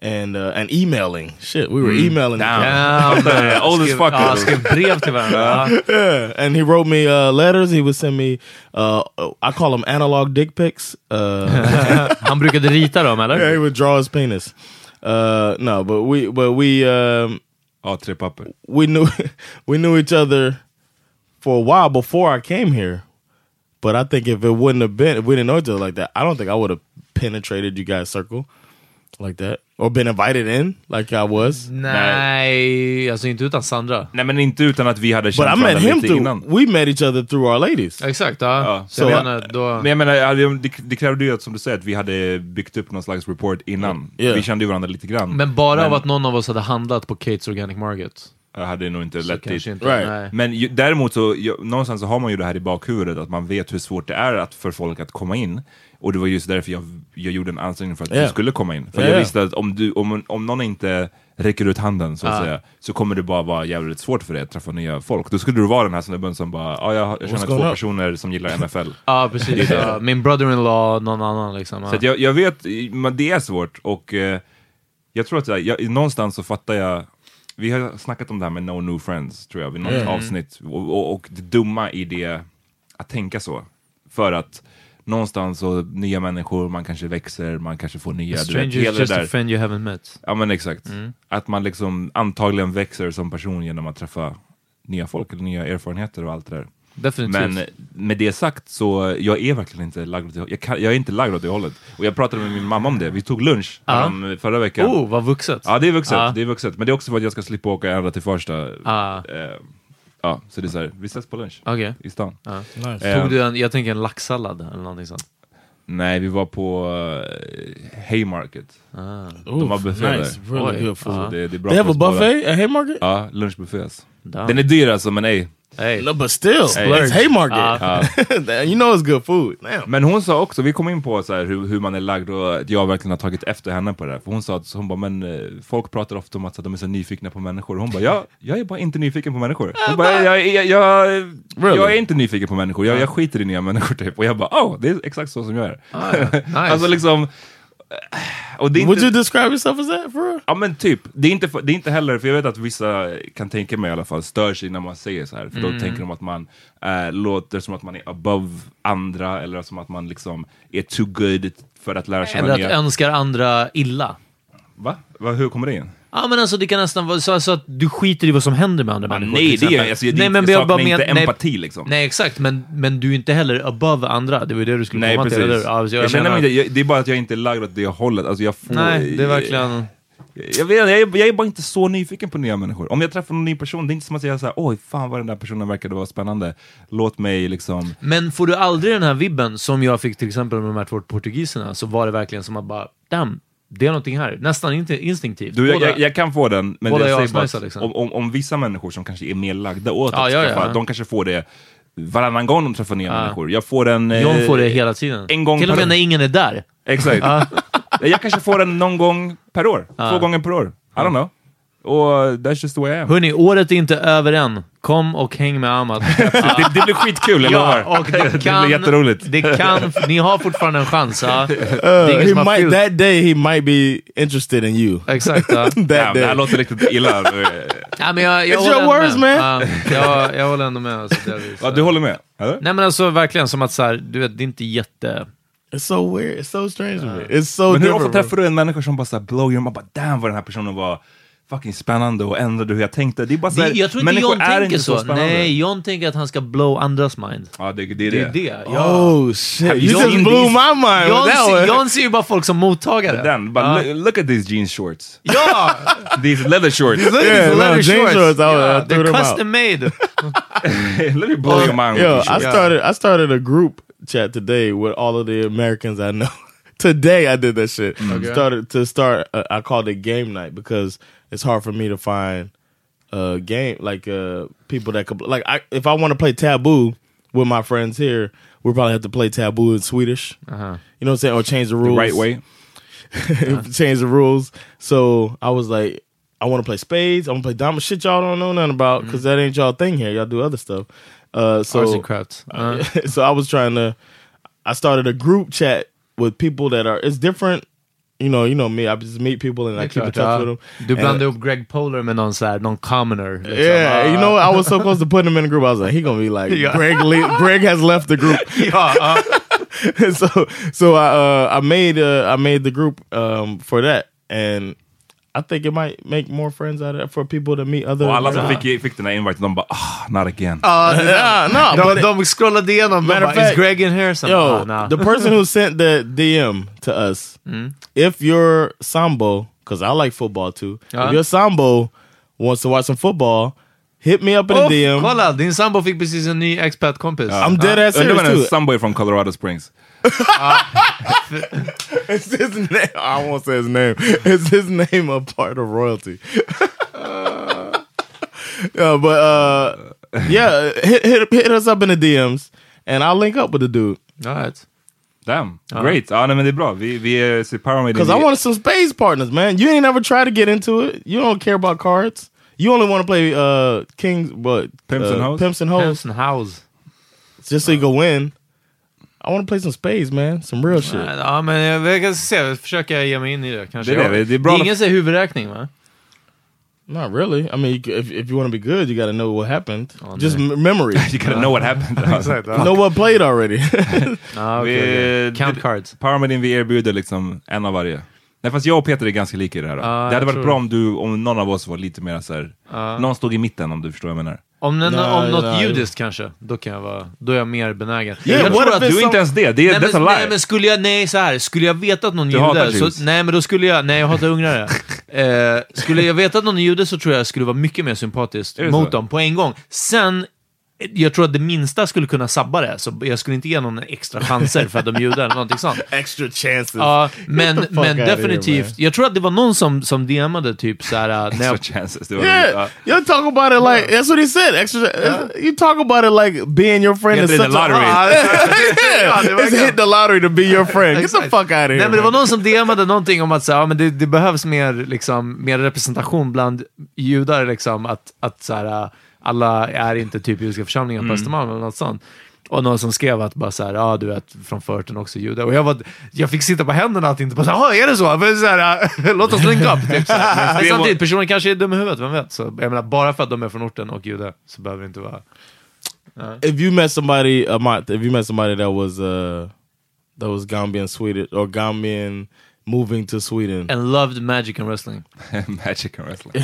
[SPEAKER 5] And uh, and emailing shit, we were
[SPEAKER 1] Mm.
[SPEAKER 5] emailing.
[SPEAKER 1] Damn.
[SPEAKER 5] each other.
[SPEAKER 1] Damn. Old as Skrev- fuck, ja, though. skrev brev till varandra. Ja.
[SPEAKER 5] yeah, and he wrote me uh, letters. He would send me, uh, I call them analog dick pics.
[SPEAKER 1] <laughs>
[SPEAKER 5] Uh,
[SPEAKER 1] Han brukade rita dem, eller?
[SPEAKER 5] Yeah, <laughs> he would draw his penis. Uh, no, but we, but we, um, we knew, <laughs> we knew each other for a while before I came here. But I think if it wouldn't have been, if we didn't know each other like that, I don't think I would have penetrated you guys' circle like that or been invited in like I was.
[SPEAKER 1] Nej, alltså inte utan Sandra.
[SPEAKER 3] Nej men inte utan att vi hade
[SPEAKER 5] But I
[SPEAKER 3] känt
[SPEAKER 5] met
[SPEAKER 3] varandra
[SPEAKER 5] him
[SPEAKER 3] lite
[SPEAKER 5] through.
[SPEAKER 3] innan.
[SPEAKER 5] We met each other through our ladies.
[SPEAKER 1] Exakt, ja.
[SPEAKER 3] Så jag menar, Men jag menar, ja, det- det- det krävde ju att, som du säger, att vi hade byggt upp någon slags report innan.
[SPEAKER 1] Yeah.
[SPEAKER 3] Vi kände ju varandra lite grann.
[SPEAKER 1] Men bara
[SPEAKER 3] Men-
[SPEAKER 1] av att någon av oss hade handlat på Kates Organic Market.
[SPEAKER 3] Jag hade nog inte
[SPEAKER 1] Så
[SPEAKER 3] lätt dit. Mm.
[SPEAKER 1] kanske inte, Right. nej.
[SPEAKER 3] Men ju, däremot så, ju, någonstans så har man ju det här i bakhuvudet, att man vet hur svårt det är att, för folk att komma in. Och det var just därför jag, jag gjorde en ansträngning för att
[SPEAKER 1] Yeah.
[SPEAKER 3] du skulle komma in. För
[SPEAKER 1] Yeah,
[SPEAKER 3] jag
[SPEAKER 1] yeah.
[SPEAKER 3] visste att om, du, om, om någon inte räcker ut handen, så att
[SPEAKER 1] Ah.
[SPEAKER 3] säga, så kommer det bara vara jävligt svårt för dig att träffa nya folk. Då skulle du vara den här snubben som bara, ja, jag, jag känner
[SPEAKER 1] What's going
[SPEAKER 3] två
[SPEAKER 1] on?"
[SPEAKER 3] personer som gillar NFL.
[SPEAKER 1] Ja,
[SPEAKER 3] Det är
[SPEAKER 1] precis.
[SPEAKER 3] det.
[SPEAKER 1] Ja, min brother-in-law, någon annan liksom.
[SPEAKER 3] Så att jag, jag vet, men det är svårt och eh, jag tror att jag, jag, någonstans så fattar jag, vi har snackat om det här med no new friends tror jag, vid något
[SPEAKER 1] Mm.
[SPEAKER 3] avsnitt och, och, och det dumma i det, att tänka så. För att någonstans så nya människor, man kanske växer, man kanske får nya, du vet,
[SPEAKER 1] Strangers
[SPEAKER 3] hela det
[SPEAKER 1] just a
[SPEAKER 3] där.
[SPEAKER 1] friend you haven't met.
[SPEAKER 3] Ja men exakt.
[SPEAKER 1] Mm.
[SPEAKER 3] Att man liksom antagligen växer som person genom att träffa nya folk, eller nya erfarenheter och allt det där.
[SPEAKER 1] Definitivt.
[SPEAKER 3] Men med det sagt så, jag är verkligen inte lagd åt det jag, kan, jag är inte lagd åt det hållet. Och jag pratade med min mamma om det, vi tog lunch
[SPEAKER 1] Ja.
[SPEAKER 3] härom- förra veckan.
[SPEAKER 1] Oh, vad vuxet.
[SPEAKER 3] Ja, det är vuxet,
[SPEAKER 1] Ja.
[SPEAKER 3] det är vuxet. Men det är också för att jag ska slippa åka ända till första.
[SPEAKER 1] Ah.
[SPEAKER 3] ja, så det är så här, vi ses på lunch
[SPEAKER 1] Okej.
[SPEAKER 3] i stan.
[SPEAKER 1] Ja.
[SPEAKER 3] Eh,
[SPEAKER 1] Tog du en, jag tänker en laxsallad eller någonting sånt.
[SPEAKER 3] Nej, vi var på eh, Haymarket. De har
[SPEAKER 5] Oof,
[SPEAKER 3] buffé
[SPEAKER 5] nice.
[SPEAKER 3] där.
[SPEAKER 1] Oh,
[SPEAKER 5] Really
[SPEAKER 3] Oj.
[SPEAKER 5] good food.
[SPEAKER 1] Uh-huh.
[SPEAKER 3] Så Det, det är bra
[SPEAKER 5] They have
[SPEAKER 3] för
[SPEAKER 5] a
[SPEAKER 3] oss båda.
[SPEAKER 5] buffet at Haymarket?
[SPEAKER 3] Ja, lunchbuffé.
[SPEAKER 5] Damn.
[SPEAKER 3] Den är dyr alltså, men ej.
[SPEAKER 1] Uh, Hey. Uh,
[SPEAKER 5] No, but still, it's Haymarket. <laughs> you know it's good food.
[SPEAKER 3] Men hon sa också, vi kom in på så här, hur, hur man är lagd och att jag verkligen har tagit efter henne på det här. För hon sa att hon bara, men eh, folk pratar ofta om att så att de är så nyfikna på människor. Hon bara, ja, jag är bara inte nyfiken på människor. Hon bara, jag, jag, jag, jag är inte nyfiken på människor, jag, jag skiter i nya människor typ. Och jag bara, oh, det är exakt så som jag är.
[SPEAKER 5] Ah, ja.
[SPEAKER 3] <laughs>
[SPEAKER 5] Nice.
[SPEAKER 3] alltså liksom... eh, Och det är
[SPEAKER 5] Would
[SPEAKER 3] inte,
[SPEAKER 5] you describe yourself as that for real?
[SPEAKER 3] Ja men typ, det är, inte, för- det är inte heller, för jag vet att vissa kan tänka mig i alla fall, stör sig när man säger så här, för då
[SPEAKER 1] Mm.
[SPEAKER 3] tänker de att man eh, låter som att man är above andra, eller som att man liksom är too good för att lära känna
[SPEAKER 1] Eller att
[SPEAKER 3] nya.
[SPEAKER 1] önskar andra illa.
[SPEAKER 3] Va? Va? Hur kommer det in?
[SPEAKER 1] Ja men alltså det kan nästan vara så, så att du skiter i vad som händer med andra människor.
[SPEAKER 3] nej,
[SPEAKER 1] till
[SPEAKER 3] det
[SPEAKER 1] exempel.
[SPEAKER 3] gör jag. Alltså, jag- det- jag saknar inte empati, liksom.
[SPEAKER 1] Nej exakt, men, men du är inte heller above andra. Det var ju det du skulle
[SPEAKER 3] Nej,
[SPEAKER 1] komma
[SPEAKER 3] precis.
[SPEAKER 1] till, eller hur? Ja, alltså,
[SPEAKER 3] jag känner
[SPEAKER 1] menar-
[SPEAKER 3] mig inte, jag, det är bara att jag inte är lagd åt det hållet. Alltså, jag får,
[SPEAKER 1] Nej, det är verkligen...
[SPEAKER 3] Jag, jag, vet, jag, är, jag är bara inte så nyfiken på nya människor. Om jag träffar någon ny person, det är inte som att säga såhär, oj fan vad den där personen verkade vara spännande. Låt mig liksom...
[SPEAKER 1] Men får du aldrig den här vibben som jag fick till exempel med de här två portugiserna, så var det verkligen som att bara, damn, det är någonting här. Nästan inte instinktivt.
[SPEAKER 3] Du, jag,
[SPEAKER 1] Båda-
[SPEAKER 3] jag, jag kan få den, men
[SPEAKER 1] båda
[SPEAKER 3] jag
[SPEAKER 1] är
[SPEAKER 3] säger bara
[SPEAKER 1] asnice,
[SPEAKER 3] att
[SPEAKER 1] liksom.
[SPEAKER 3] om, om, om vissa människor som kanske är mer lagda åt
[SPEAKER 1] Ja,
[SPEAKER 3] att
[SPEAKER 1] ja,
[SPEAKER 3] skaffa,
[SPEAKER 1] ja.
[SPEAKER 3] de kanske får det varannan gång de träffar nya
[SPEAKER 1] Ja.
[SPEAKER 3] människor. Jag får den... eh,
[SPEAKER 1] John får det hela tiden.
[SPEAKER 3] en gång
[SPEAKER 1] till och
[SPEAKER 3] per-
[SPEAKER 1] med när ingen är där.
[SPEAKER 3] Exakt.
[SPEAKER 1] Ja.
[SPEAKER 3] jag kanske får den någon gång per år. Två gånger per år. I don't know. Och that's just the way I am.
[SPEAKER 1] Hörni, året är inte över än. Kom och häng med Ahmad.
[SPEAKER 3] Det, det blir skitkul, jag
[SPEAKER 1] Ja,
[SPEAKER 3] lovar.
[SPEAKER 1] och det
[SPEAKER 3] <laughs> det
[SPEAKER 1] kan...
[SPEAKER 3] blir jätteroligt.
[SPEAKER 1] Det kan... Ni har fortfarande en chans. Ja. Det är
[SPEAKER 5] Uh,
[SPEAKER 1] ingen
[SPEAKER 5] he
[SPEAKER 1] som har
[SPEAKER 5] might,
[SPEAKER 1] fyllt.
[SPEAKER 5] that day he might be interested in you.
[SPEAKER 1] Exakt. Ja.
[SPEAKER 5] That
[SPEAKER 3] Ja, det här
[SPEAKER 5] day.
[SPEAKER 3] låter riktigt
[SPEAKER 1] <laughs>
[SPEAKER 3] illa.
[SPEAKER 1] Nej, men jag, jag
[SPEAKER 5] It's
[SPEAKER 1] håller
[SPEAKER 5] your
[SPEAKER 1] ändå
[SPEAKER 5] words,
[SPEAKER 1] med.
[SPEAKER 5] man.
[SPEAKER 1] Ja, jag, jag håller ändå med. Alltså,
[SPEAKER 3] <laughs>
[SPEAKER 1] delvis.
[SPEAKER 3] ja, du håller med? Eller?
[SPEAKER 1] Nej men alltså verkligen som att så här, du vet, det är inte jätte...
[SPEAKER 5] It's so weird. It's so strange. man. It's so
[SPEAKER 3] Men hur ofta
[SPEAKER 5] different.
[SPEAKER 3] träffar du en människa som bara såhär blow your mind, bara damn vad den här personen var fucking spännande och ändrade hur jag tänkte. Det är bara så här,
[SPEAKER 1] Det, jag tror inte
[SPEAKER 3] människor
[SPEAKER 1] John
[SPEAKER 3] är
[SPEAKER 1] tänker
[SPEAKER 3] inte
[SPEAKER 1] så.
[SPEAKER 3] så, spännande.
[SPEAKER 1] Nej, John tänker att han ska blow andras mind.
[SPEAKER 3] Ja, det, det är
[SPEAKER 1] Det
[SPEAKER 3] det.
[SPEAKER 1] är det.
[SPEAKER 5] bro. Oh shit! You
[SPEAKER 3] John-
[SPEAKER 5] just blew my mind
[SPEAKER 1] John,
[SPEAKER 5] with that
[SPEAKER 1] ser,
[SPEAKER 5] one.
[SPEAKER 1] John ser ju bara folk som mottagare.
[SPEAKER 3] Den, bara
[SPEAKER 1] Ja.
[SPEAKER 3] look, look at these jeans shorts.
[SPEAKER 1] Ja!
[SPEAKER 3] <laughs> These leather shorts.
[SPEAKER 1] Look at these
[SPEAKER 5] no,
[SPEAKER 1] leather
[SPEAKER 5] jean
[SPEAKER 1] shorts.
[SPEAKER 5] shorts, I would-
[SPEAKER 1] yeah,
[SPEAKER 5] I threw
[SPEAKER 1] they're
[SPEAKER 5] them out.
[SPEAKER 1] custom <laughs> made.
[SPEAKER 3] <laughs> Let me blow your mind with
[SPEAKER 5] Yo,
[SPEAKER 3] these
[SPEAKER 5] I
[SPEAKER 3] shorts.
[SPEAKER 5] started. I started a group chat today with all of the Americans I know. <laughs> today I did that shit.
[SPEAKER 3] Mm.
[SPEAKER 5] Started to start. Uh, I called it game night because it's hard for me to find uh game like uh people that could like I if I want to play Taboo with my friends here, we probably have to play Taboo in Swedish. You know what I'm saying? Or change the rules
[SPEAKER 3] Uh-huh. Right way.
[SPEAKER 5] <laughs> change the rules. So I was like, I want to play spades. I want to play diamonds. Shit, y'all don't know nothing about because that ain't y'all thing here. Y'all do other stuff. Uh, so
[SPEAKER 1] Mm-hmm. Arts and
[SPEAKER 5] <laughs>
[SPEAKER 1] crafts. Uh.
[SPEAKER 5] so I was trying to. I started a group chat with people that are. It's different. You know, you know me. I just meet people and I keep in
[SPEAKER 1] Klart,
[SPEAKER 5] touch
[SPEAKER 1] ja.
[SPEAKER 5] with them.
[SPEAKER 1] Du
[SPEAKER 5] And-
[SPEAKER 1] blandade upp Greg Polar med någon, så här, någon commoner. Liksom.
[SPEAKER 5] yeah, you know, what? I was so close to putting him in the group. I was like, he gonna be like,
[SPEAKER 1] uh, <laughs> Yeah.
[SPEAKER 5] Greg. Le- Greg has left
[SPEAKER 1] <laughs>
[SPEAKER 5] the group.
[SPEAKER 1] Ja, ja. uh-huh.
[SPEAKER 5] <laughs> so so I uh, I made uh, I made the group um, for that, and I think it might make more friends out of it for people to meet
[SPEAKER 1] Oh,
[SPEAKER 5] other.
[SPEAKER 3] Och alla som
[SPEAKER 5] Americans.
[SPEAKER 3] fick, fick den här inviten, de bara ah, not again.
[SPEAKER 1] <laughs>
[SPEAKER 5] Uh, nah, no,
[SPEAKER 1] de,
[SPEAKER 5] but
[SPEAKER 1] de scrollade igenom. De
[SPEAKER 5] Matter
[SPEAKER 1] bara,
[SPEAKER 5] of fact-
[SPEAKER 1] is Greg in here? Some,
[SPEAKER 5] yo,
[SPEAKER 1] ah, nah. Mm-hmm.
[SPEAKER 5] the person who sent the DM to us, if your sambo, because I like football too,
[SPEAKER 1] Uh-huh.
[SPEAKER 5] if your sambo wants to watch some football, hit me up in
[SPEAKER 1] Uff,
[SPEAKER 5] the DM.
[SPEAKER 1] Oh, kolla, din sambo fick precis en ny expat-kompis.
[SPEAKER 5] I'm dead ass
[SPEAKER 3] Undrar
[SPEAKER 5] serious
[SPEAKER 3] vad den
[SPEAKER 5] too.
[SPEAKER 3] somebody from Colorado Springs.
[SPEAKER 5] <laughs> Is his name? I won't say his name. Is his name a part of royalty? <laughs> yeah, but
[SPEAKER 3] <laughs>
[SPEAKER 5] uh, yeah, hit, hit hit us up in the DMs, and I'll link up with the dude
[SPEAKER 1] All right.
[SPEAKER 3] Damn,
[SPEAKER 1] Ah.
[SPEAKER 3] great. Ja, nej, men det är bra. Vi, vi eh, ser Power Maiden.
[SPEAKER 5] because I
[SPEAKER 3] Vi-
[SPEAKER 5] wanted some space partners, man. You ain't ever try to get into it. You don't care about cards. You only want to play uh kings, but
[SPEAKER 3] Pimps
[SPEAKER 5] uh,
[SPEAKER 3] and hoes?
[SPEAKER 5] pimps and hoes,
[SPEAKER 1] Hanson House.
[SPEAKER 5] just so you can win. I want to play some spades, man. Some real shit.
[SPEAKER 1] Ja, men jag, jag kan se. Jag försöker ge mig in i det. Kanske.
[SPEAKER 3] typ. Det är det, det är bra.
[SPEAKER 1] ingen säger huvudräkning, va?
[SPEAKER 5] Not really. I mean, you, c- if if you want to be good, you got to know what happened. just m- memories. <laughs>
[SPEAKER 3] You gotta know what happened.
[SPEAKER 5] know what played already. <laughs>
[SPEAKER 1] Ah, okay,
[SPEAKER 3] Vi-
[SPEAKER 1] okay. Count
[SPEAKER 3] det-
[SPEAKER 1] cards.
[SPEAKER 3] Power Maiden, vi erbjuder liksom en av varje. Nej fast jag och Peter är ganska lika i det här. då. det
[SPEAKER 1] jag
[SPEAKER 3] hade
[SPEAKER 1] tror
[SPEAKER 3] varit bra om du, om någon av oss var lite mer såhär, någon stod i mitten om du förstår vad jag menar.
[SPEAKER 1] Om, den,
[SPEAKER 5] Nej,
[SPEAKER 1] om något
[SPEAKER 5] nej.
[SPEAKER 1] judiskt kanske, då kan jag vara... Då är jag mer benägen.
[SPEAKER 5] Yeah,
[SPEAKER 1] jag
[SPEAKER 5] what
[SPEAKER 1] tror
[SPEAKER 5] if
[SPEAKER 1] att
[SPEAKER 5] it's
[SPEAKER 3] Du är inte ens det, det är,
[SPEAKER 1] nej,
[SPEAKER 3] that's
[SPEAKER 1] men,
[SPEAKER 3] a lie.
[SPEAKER 1] nej men skulle jag, nej så här. skulle jag veta att någon
[SPEAKER 3] Du
[SPEAKER 1] är
[SPEAKER 3] hatar
[SPEAKER 1] jude, så,
[SPEAKER 3] Jews.
[SPEAKER 1] nej men då skulle jag, nej jag hatar ungrare.
[SPEAKER 3] <laughs>
[SPEAKER 1] eh, skulle jag veta att någon är jude så tror jag jag skulle vara mycket mer sympatisk
[SPEAKER 3] Är det
[SPEAKER 1] mot
[SPEAKER 3] så?
[SPEAKER 1] dem på en gång. Sen, eh, jag tror att det minsta skulle kunna sabba det, så jag skulle inte ge någon extra chanser för att de är judar eller någonting sånt.
[SPEAKER 5] Extra chances.
[SPEAKER 1] Ja, men,
[SPEAKER 5] the fuck
[SPEAKER 1] men
[SPEAKER 5] outta here, Uh, man.
[SPEAKER 1] definitivt, jag tror att det var någon som, som DMade typ
[SPEAKER 5] <laughs>
[SPEAKER 1] såhär... eh, när
[SPEAKER 3] <laughs> Extra
[SPEAKER 1] jag-
[SPEAKER 3] chances. Det var,
[SPEAKER 5] yeah,
[SPEAKER 3] ja.
[SPEAKER 5] you talk about it like that's what he said. Extra, you talk about it like being your friend
[SPEAKER 3] Get
[SPEAKER 5] is
[SPEAKER 3] in the
[SPEAKER 5] such
[SPEAKER 3] lottery. <laughs>
[SPEAKER 5] a
[SPEAKER 3] Ja,
[SPEAKER 5] <laughs> yeah, it's hit the lottery to be your friend. Get the
[SPEAKER 1] Exakt.
[SPEAKER 5] fuck out of
[SPEAKER 1] Nej,
[SPEAKER 5] here.
[SPEAKER 1] men det var
[SPEAKER 5] man.
[SPEAKER 1] någon som DMade någonting om att så här, ja, men det, det behövs mer, liksom, mer representation bland judar. Liksom, att att så här, äh, alla är inte typ judiska församlingar
[SPEAKER 5] Mm.
[SPEAKER 1] på Östermalm eller något sånt. Och någon som skrev att bara så här, ja du vet, från förorten också judar. Och jag, var, jag fick sitta på händerna att inte bara så här, "Ja, är det så? Men så här, äh, <laughs> Låt oss länka upp. Typ, så
[SPEAKER 5] <laughs>
[SPEAKER 1] här. Men samtidigt, personen kanske är dum i huvudet, vem vet? Så, jag menar, bara för att de är från orten och judar så behöver det inte vara...
[SPEAKER 5] if you met somebody, uh, Amat, if you met somebody that was uh, that was Gambian Swedish or Gambian moving to Sweden
[SPEAKER 1] and loved magic and wrestling.
[SPEAKER 3] <laughs> magic and wrestling.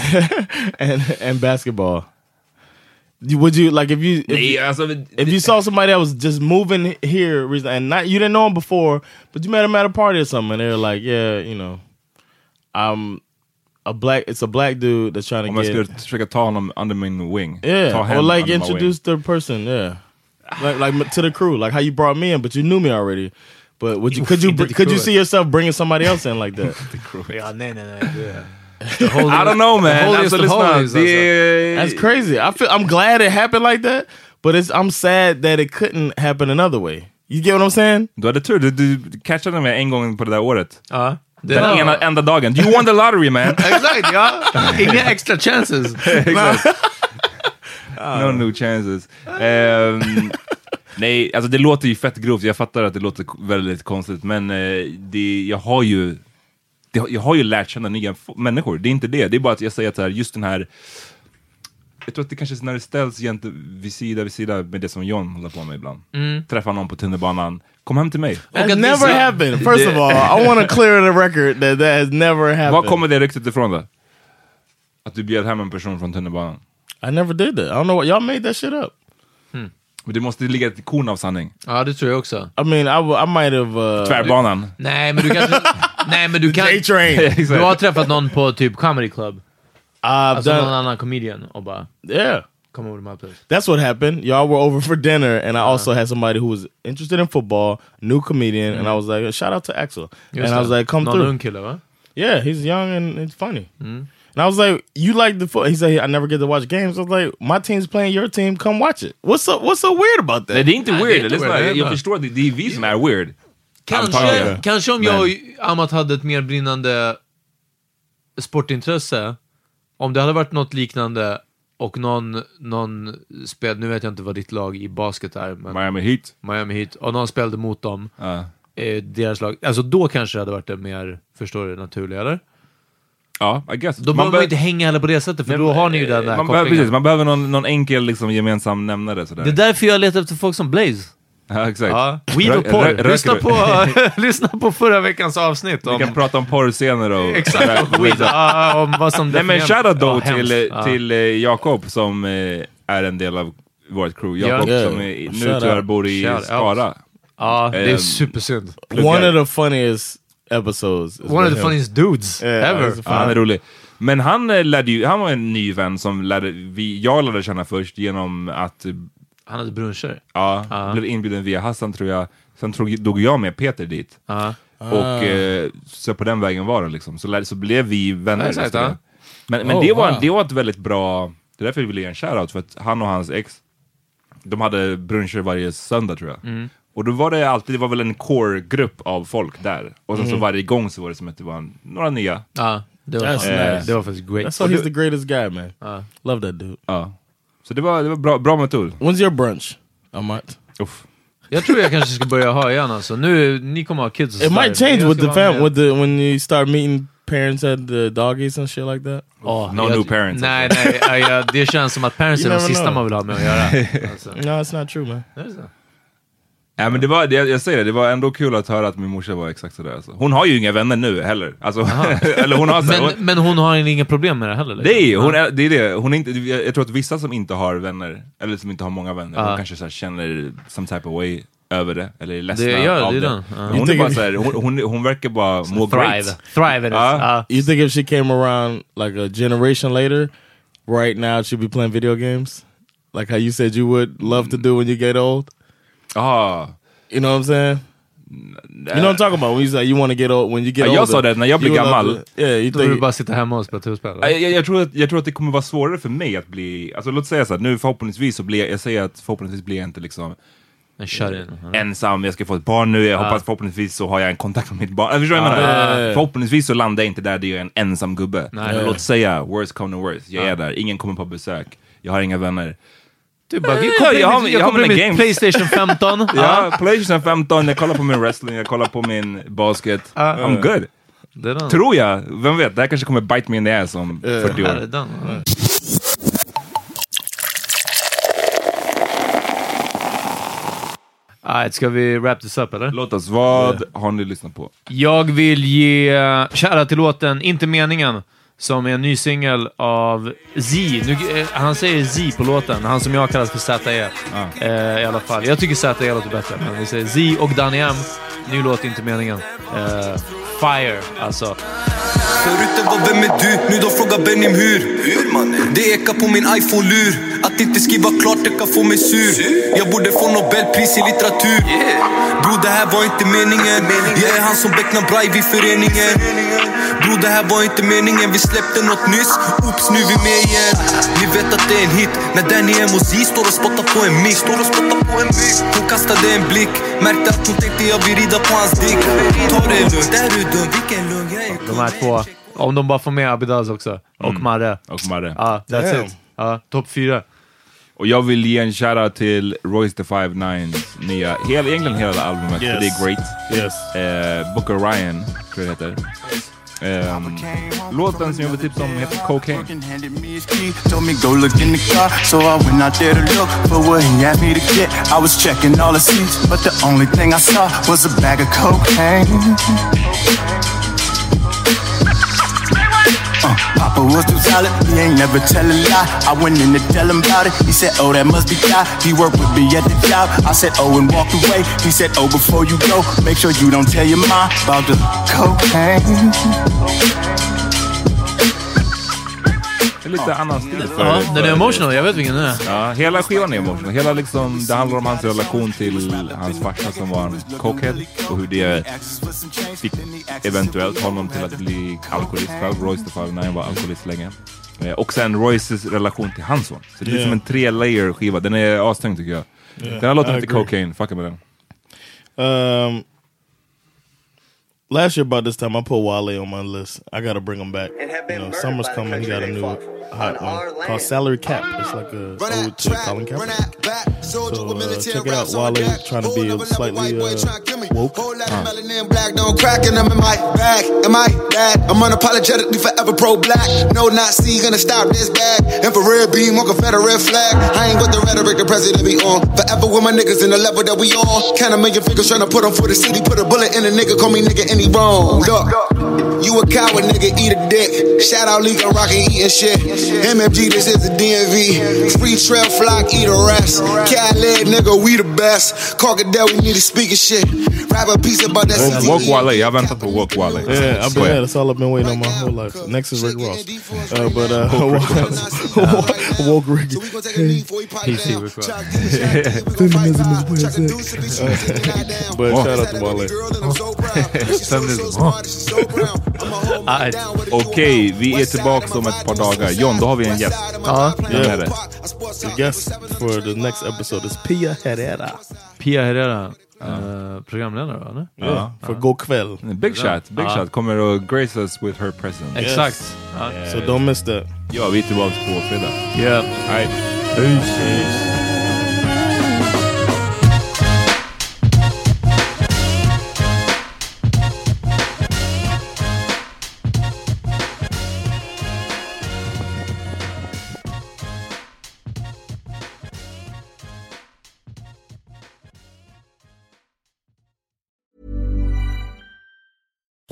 [SPEAKER 5] and and basketball. You- Would you like if you if, you-
[SPEAKER 3] Nej, alltså, men-
[SPEAKER 5] if you saw somebody that was just moving here recent- and not you didn't know them before, but you met them at a party or something, and they're like, yeah, you know, I'm a black. It's a black dude that's trying
[SPEAKER 3] Om
[SPEAKER 5] to
[SPEAKER 3] jag
[SPEAKER 5] get
[SPEAKER 3] skulle försöka ta honom under min wing. ta
[SPEAKER 5] Yeah,
[SPEAKER 3] hem
[SPEAKER 5] or like
[SPEAKER 3] under my wing.
[SPEAKER 5] introduce the person. Yeah, like like to the crew. Like how you brought me in, but you knew me already. But would you could you br-
[SPEAKER 1] The
[SPEAKER 5] could you
[SPEAKER 1] crew.
[SPEAKER 5] see yourself bringing somebody else in like that?
[SPEAKER 1] Ja, nej, nej, nej.
[SPEAKER 3] I don't know man.
[SPEAKER 1] holiest
[SPEAKER 3] Alltså,
[SPEAKER 1] of
[SPEAKER 3] lyssna,
[SPEAKER 1] holies,
[SPEAKER 3] det är...
[SPEAKER 5] That's crazy. I feel I'm glad it happened like that, but it's I'm sad that it couldn't happen another way. You get what I'm saying?
[SPEAKER 3] Du hade tur, du, du catchade mig en gång på det där året.
[SPEAKER 1] Ja. Det
[SPEAKER 3] Den ena, enda dagen. You won the lottery man!
[SPEAKER 1] Exakt, ja. Inga extra chances.
[SPEAKER 3] <laughs> No new chances. Ehm, nej, alltså det låter ju fett grovt. Jag fattar att det låter k- väldigt konstigt, men eh, det, jag har ju det, jag har ju lärt känna nya f- människor. Det är inte det. Det är bara att jag säger att så här, just den här... Jag tror att det kanske är när det ställs jämte, vid sida vid sida med det som John håller på med ibland. Träffa någon på tunnelbanan. Kom hem till mig.
[SPEAKER 5] That never
[SPEAKER 3] uh,
[SPEAKER 5] happened. First of all, I want to clear the record that that has never
[SPEAKER 3] Var
[SPEAKER 5] happened.
[SPEAKER 3] kommer det ryktet ifrån då? Att du bjöd hem en person från tunnelbanan.
[SPEAKER 5] I never did that. I don't know what y'all made that shit up.
[SPEAKER 3] Men det måste ligga ett korn av sanning.
[SPEAKER 1] Ja, det tror jag också.
[SPEAKER 5] I mean, I, w- I might have uh,
[SPEAKER 3] Tvärbanan.
[SPEAKER 1] Nej, men du kanske... Nej, men du kan...
[SPEAKER 5] J
[SPEAKER 1] <laughs>
[SPEAKER 5] Train.
[SPEAKER 1] Du har träffat någon på typ comedy club.
[SPEAKER 5] I've
[SPEAKER 1] Alltså någon
[SPEAKER 5] done
[SPEAKER 1] annan comedian och bara,
[SPEAKER 5] yeah.
[SPEAKER 1] come over to my place.
[SPEAKER 5] That's what happened. Y'all were over for dinner, and I also had somebody who was interested in football, new comedian, and I was like, shout out to Axel. and I was like, come
[SPEAKER 1] Någon
[SPEAKER 5] through.
[SPEAKER 1] ung kille, va?
[SPEAKER 5] Yeah, he's young and it's funny. And I was like, you like the foot? He said, I never get to watch games. I was like, my team's playing your team. Come watch it. What's so What's so weird about
[SPEAKER 3] Nej,
[SPEAKER 5] that?
[SPEAKER 3] det är inte
[SPEAKER 1] Nej, det är
[SPEAKER 3] weird.
[SPEAKER 1] inte
[SPEAKER 3] Lyssna,
[SPEAKER 1] weird. Det är
[SPEAKER 3] jag
[SPEAKER 1] bara-
[SPEAKER 3] förstår att det, det är vi som är weird.
[SPEAKER 1] Kanske,
[SPEAKER 3] Antagligen.
[SPEAKER 1] kanske om jag och Amat hade ett mer brinnande sportintresse, om det hade varit något liknande och någon, någon spelade, nu vet jag inte vad ditt lag i basket är, men
[SPEAKER 3] Miami Heat.
[SPEAKER 1] Miami Heat, och någon spelade mot dem, eh, deras lag, alltså då kanske det hade varit det mer, förstår du, naturliga eller?
[SPEAKER 3] Ja, I guess.
[SPEAKER 1] Då behöver man ju inte hänga heller på det sättet, för då har ni ju den där
[SPEAKER 3] eh, man behöver,
[SPEAKER 1] kopplingen.
[SPEAKER 3] precis, man behöver någon, någon enkel liksom, gemensam nämnare sådär.
[SPEAKER 1] Det är därför jag letar efter folk som Blaze.
[SPEAKER 3] ja, exakt.
[SPEAKER 1] Ja, weed och
[SPEAKER 3] Rö-
[SPEAKER 1] porr.
[SPEAKER 3] rö- röker
[SPEAKER 1] lyssna,
[SPEAKER 3] du? <laughs>
[SPEAKER 1] på, <laughs> lyssna på förra veckans avsnitt
[SPEAKER 3] Vi kan
[SPEAKER 1] om,
[SPEAKER 3] prata om porrscener
[SPEAKER 1] <laughs>
[SPEAKER 3] och...
[SPEAKER 1] exakt, om, weed, ja, om vad som
[SPEAKER 3] Nej men
[SPEAKER 1] definierar-
[SPEAKER 3] shoutout
[SPEAKER 1] Ja,
[SPEAKER 3] då
[SPEAKER 1] hemskt.
[SPEAKER 3] till, eh,
[SPEAKER 1] Ja.
[SPEAKER 3] till eh, Jakob som eh, är en del av vårt crew.
[SPEAKER 1] Ja.
[SPEAKER 3] Jakob
[SPEAKER 5] Yeah.
[SPEAKER 3] som är, nu
[SPEAKER 5] Shout out.
[SPEAKER 3] tyvärr bor i
[SPEAKER 1] Shout out.
[SPEAKER 3] Skara.
[SPEAKER 1] Ja, det är
[SPEAKER 3] Ehm,
[SPEAKER 1] supersynd.
[SPEAKER 5] One
[SPEAKER 3] guy.
[SPEAKER 5] of the funniest episodes. is
[SPEAKER 1] One of
[SPEAKER 5] with
[SPEAKER 1] the
[SPEAKER 5] him.
[SPEAKER 1] funniest dudes
[SPEAKER 5] Yeah,
[SPEAKER 1] ever.
[SPEAKER 5] he's a
[SPEAKER 3] Ja, Eh, han är rolig. Men han, eh, lärde ju, han var en ny vän som lärde, vi, jag lärde känna först genom att eh,
[SPEAKER 1] Han hade bruncher.
[SPEAKER 3] Ja, blev inbjuden via Hassan tror jag. Sen drog, drog jag med Peter dit.
[SPEAKER 1] Ah.
[SPEAKER 3] Och eh, så på den vägen var det liksom. Så, lär- så blev vi vänner.
[SPEAKER 1] Ja, exakt,
[SPEAKER 3] efter
[SPEAKER 1] ja.
[SPEAKER 3] det. Men, men
[SPEAKER 5] Oh,
[SPEAKER 3] det, var,
[SPEAKER 5] wow.
[SPEAKER 3] det var ett väldigt bra... Det är därför jag ville ge en shoutout, för att han och hans ex, de hade bruncher varje söndag tror jag. Och då var det alltid, det var väl en core-grupp av folk där. Och sen så varje gång så var det som att det var en, några nya.
[SPEAKER 1] Ja, det var,
[SPEAKER 5] That's
[SPEAKER 1] fan,
[SPEAKER 5] nice.
[SPEAKER 1] det var faktiskt great.
[SPEAKER 5] That's why he's the greatest guy, man.
[SPEAKER 1] Uh.
[SPEAKER 5] Love that dude.
[SPEAKER 3] Ja. Så det var, det var bra, bra metod.
[SPEAKER 5] When's your brunch? A month.
[SPEAKER 3] Uff.
[SPEAKER 1] Jag tror jag kanske ska börja ha igen alltså. Nu, ni kommer ha kids och
[SPEAKER 5] It
[SPEAKER 1] sådär.
[SPEAKER 5] might change
[SPEAKER 1] Jag
[SPEAKER 5] with
[SPEAKER 1] ska
[SPEAKER 5] the
[SPEAKER 1] vara
[SPEAKER 5] fam
[SPEAKER 1] med.
[SPEAKER 5] with the when you start meeting parents at the doggies and shit like that.
[SPEAKER 1] Ja,
[SPEAKER 3] No
[SPEAKER 1] jag-
[SPEAKER 3] new parents, alltså.
[SPEAKER 1] Nej, nej. ja, ja, det känns som att parents
[SPEAKER 5] You
[SPEAKER 1] är de
[SPEAKER 5] never
[SPEAKER 1] sista
[SPEAKER 5] know.
[SPEAKER 1] man vill ha med att
[SPEAKER 5] <laughs>
[SPEAKER 1] göra. Alltså.
[SPEAKER 5] No, it's not true, man.
[SPEAKER 3] Ja, men det var, det, jag säger det, det var ändå kul att höra att min morsa var exakt sådär. Alltså. Hon har ju inga vänner nu heller. Alltså, <laughs> eller hon har så, hon,
[SPEAKER 1] Men, men hon har inga problem med det heller? liksom.
[SPEAKER 3] Nej, hon är, det är det. Hon är inte, jag jag tror att vissa som inte har vänner, eller som inte har många vänner, de kanske så här känner some type of way över det, eller är ledsna
[SPEAKER 1] Det gör-
[SPEAKER 3] av
[SPEAKER 1] det
[SPEAKER 3] det.
[SPEAKER 1] är den. Ja.
[SPEAKER 3] Hon, är bara så här, hon, hon, hon verkar bara må
[SPEAKER 1] Thrive.
[SPEAKER 3] great.
[SPEAKER 1] Thrive it is.
[SPEAKER 3] Ja.
[SPEAKER 1] Ja.
[SPEAKER 5] You think if she came around like a generation later, right now she'd be playing video games? Like how you said you would love to do when you get old?
[SPEAKER 3] Ah.
[SPEAKER 5] You know what I'm saying? You know what I'm talking about when you say you want to get old when you get
[SPEAKER 3] Ja,
[SPEAKER 5] older.
[SPEAKER 3] jag sa det, när jag blir
[SPEAKER 5] you would love
[SPEAKER 3] gammal.
[SPEAKER 5] to- Yeah, you
[SPEAKER 1] Då vill du
[SPEAKER 5] think
[SPEAKER 1] bara sitta hemma och spela turspel?
[SPEAKER 3] Jag, jag, jag, tror att, jag tror att det kommer vara svårare för mig att bli, alltså låt säga så här, nu förhoppningsvis så blir jag, jag säger att förhoppningsvis blir jag inte liksom
[SPEAKER 1] Men Kör in.
[SPEAKER 3] Mhm. Mm-hmm. ensam, jag ska få ett barn nu, jag hoppas förhoppningsvis så har jag en kontakt med mitt barn. Äh, Förstår du vad jag
[SPEAKER 5] Ja, ja, ja,
[SPEAKER 3] menar?
[SPEAKER 5] ja.
[SPEAKER 3] Förhoppningsvis så landar jag inte där, det är en ensam gubbe.
[SPEAKER 1] Nej.
[SPEAKER 3] Men Låt säga, worst come to worst, jag är där, ingen kommer på besök, jag har inga vänner.
[SPEAKER 1] Du bara,
[SPEAKER 3] Ja,
[SPEAKER 1] vi kommer
[SPEAKER 3] jag har-
[SPEAKER 1] in- jag
[SPEAKER 3] jag har
[SPEAKER 1] kommer in
[SPEAKER 3] mina
[SPEAKER 1] med
[SPEAKER 3] games.
[SPEAKER 1] Playstation 15.
[SPEAKER 3] <laughs> Ja, Ah, Playstation 15, jag kollar på min wrestling, jag kollar på min basket.
[SPEAKER 5] Ah.
[SPEAKER 3] I'm good.
[SPEAKER 1] Det är den.
[SPEAKER 3] Tror jag, vem vet, det här kanske kommer bite me in the ass om
[SPEAKER 5] Eh.
[SPEAKER 3] 40
[SPEAKER 1] Här är
[SPEAKER 3] år.
[SPEAKER 1] den. Alright, ska vi wrap this up eller?
[SPEAKER 3] Låt oss, vad har ni lyssnat på?
[SPEAKER 1] Jag vill ge kära till låten Inte meningen, som är en ny singel av Z. Nu, eh, han säger Z på låten, han som jag kallas för ZE. Eh, I alla fall. Jag tycker ZE låter bättre, men vi säger Z och Danny M. Ny låt Inte meningen. Eh, fire, alltså.
[SPEAKER 6] Förut det var vem är du? Nu då frågar Benim hur? Hur mannen? Det ekar på min iPhone-lur Att inte skriva klart det kan få mig sur Jag borde få Nobelpris i litteratur Bro det här var inte meningen Jag är han som becknar Breivik i föreningen Bro det här var inte meningen Vi släppte något nyss Oops nu är vi med igen Ni vet att det är en hit När Danny M och Z står och spottar på en mick Står och spottar på en mick Hon kastade en blick Märkte att hon tänkte jag vill rida på hans dick Ta det lugnt, är du dum? Vilken lugn? Jag är
[SPEAKER 1] De här två. Om de bara får med Abidaz också. Och Marre.
[SPEAKER 3] Mm. Och Marre.
[SPEAKER 1] Ja, that's
[SPEAKER 3] Damn.
[SPEAKER 1] it. Ja, topp fyra.
[SPEAKER 3] Och jag vill ge en shoutout till Royce the Five Nines nya, hel, egentligen hela albumet,
[SPEAKER 1] Yes.
[SPEAKER 3] för det är great.
[SPEAKER 2] Yes.
[SPEAKER 3] Eh, Booker Ryan, tror jag det heter. Ehm, låten som jag vill tipsa om heter Cocaine.
[SPEAKER 7] Told me go look in the car, so I went out there to look for what he asked me to get. I was checking all the seats, but the only thing I saw was a bag of cocaine. Uh, Papa was too solid, he ain't never tell a lie. I went in to tell him about it, he said, Oh, that must be God. He worked with me at the job. I said, Oh, and walked away. He said, Oh, before you go, make sure you don't tell your mom about the cocaine.
[SPEAKER 3] Det är lite annan stil.
[SPEAKER 1] Ja, den är emotional. Jag vet vilken den är.
[SPEAKER 3] Ja, hela skivan är emotional. Hela liksom, det handlar om hans relation till hans farsa som var en cokehead och hur det fick eventuellt honom till att bli alkoholist själv. Royce the Five Nine var alkoholist länge. Eh, Och sen Royces relation till hans son. Så det är
[SPEAKER 2] Yeah.
[SPEAKER 3] som en tre layer skiva. Den är astung tycker jag.
[SPEAKER 2] Yeah,
[SPEAKER 3] den här låten
[SPEAKER 2] I
[SPEAKER 3] heter
[SPEAKER 2] agree.
[SPEAKER 3] Cocaine, fucka med den.
[SPEAKER 2] Um, last year about this time, I put Wale on my list. I gotta bring him back. You know, summer's coming. He got a new hot one called Salary Cap. It's like a ode to Colin Kaepernick. So uh, check it out. Wale trying to be a slightly uh, woke.
[SPEAKER 8] Melanin black don't crack and I'm in my bag. Am I bad? I'm unapologetically forever pro black. No Nazi gonna stop this bag. Infrared beam on Confederate flag. I ain't with the rhetoric the president be on. Forever with my niggas in the level that we on. Count a million figures tryna put on for the city. Put a bullet in a nigga, call me nigga any
[SPEAKER 2] Uh,
[SPEAKER 8] wrong. Look, you a coward nigga, eat a dick. Shout out League of Rockin' eating shit. MFG, this is the DMV. Free trail flock, eat a rest. Cat leg nigga, we the best. Crocodile, we need to speak of shit. Rap a piece about that
[SPEAKER 3] Woke,
[SPEAKER 8] CTE.
[SPEAKER 3] woke Wale, jag väntar på Woke Wale.
[SPEAKER 2] Yeah, I've been
[SPEAKER 3] Swear.
[SPEAKER 2] yeah, that's all I've been waiting on my whole life. Next is Rick Ross, uh, but uh, woke Rick.
[SPEAKER 8] PC
[SPEAKER 2] Rick Ross.
[SPEAKER 8] Feminism is where it's
[SPEAKER 2] at. But shout out to Wale.
[SPEAKER 3] Alright. Okej, vi är tillbaka om ett par dagar. John, då har vi en gäst.
[SPEAKER 2] Ja.
[SPEAKER 3] Vem är det?
[SPEAKER 2] The guest for the next episode is Pia Herrera.
[SPEAKER 1] Pia Herrera, eh, programledare va? eller?
[SPEAKER 2] Ja, för Go Kväll.
[SPEAKER 3] Big Shot, Big
[SPEAKER 1] Ja.
[SPEAKER 3] Shot kommer att grace us with her presence.
[SPEAKER 1] Exakt. Ja.
[SPEAKER 3] Eh.
[SPEAKER 2] Yes. So don't miss that.
[SPEAKER 3] Ja, vi är tillbaka på fredag.
[SPEAKER 1] Yeah.
[SPEAKER 3] Alright. Peace.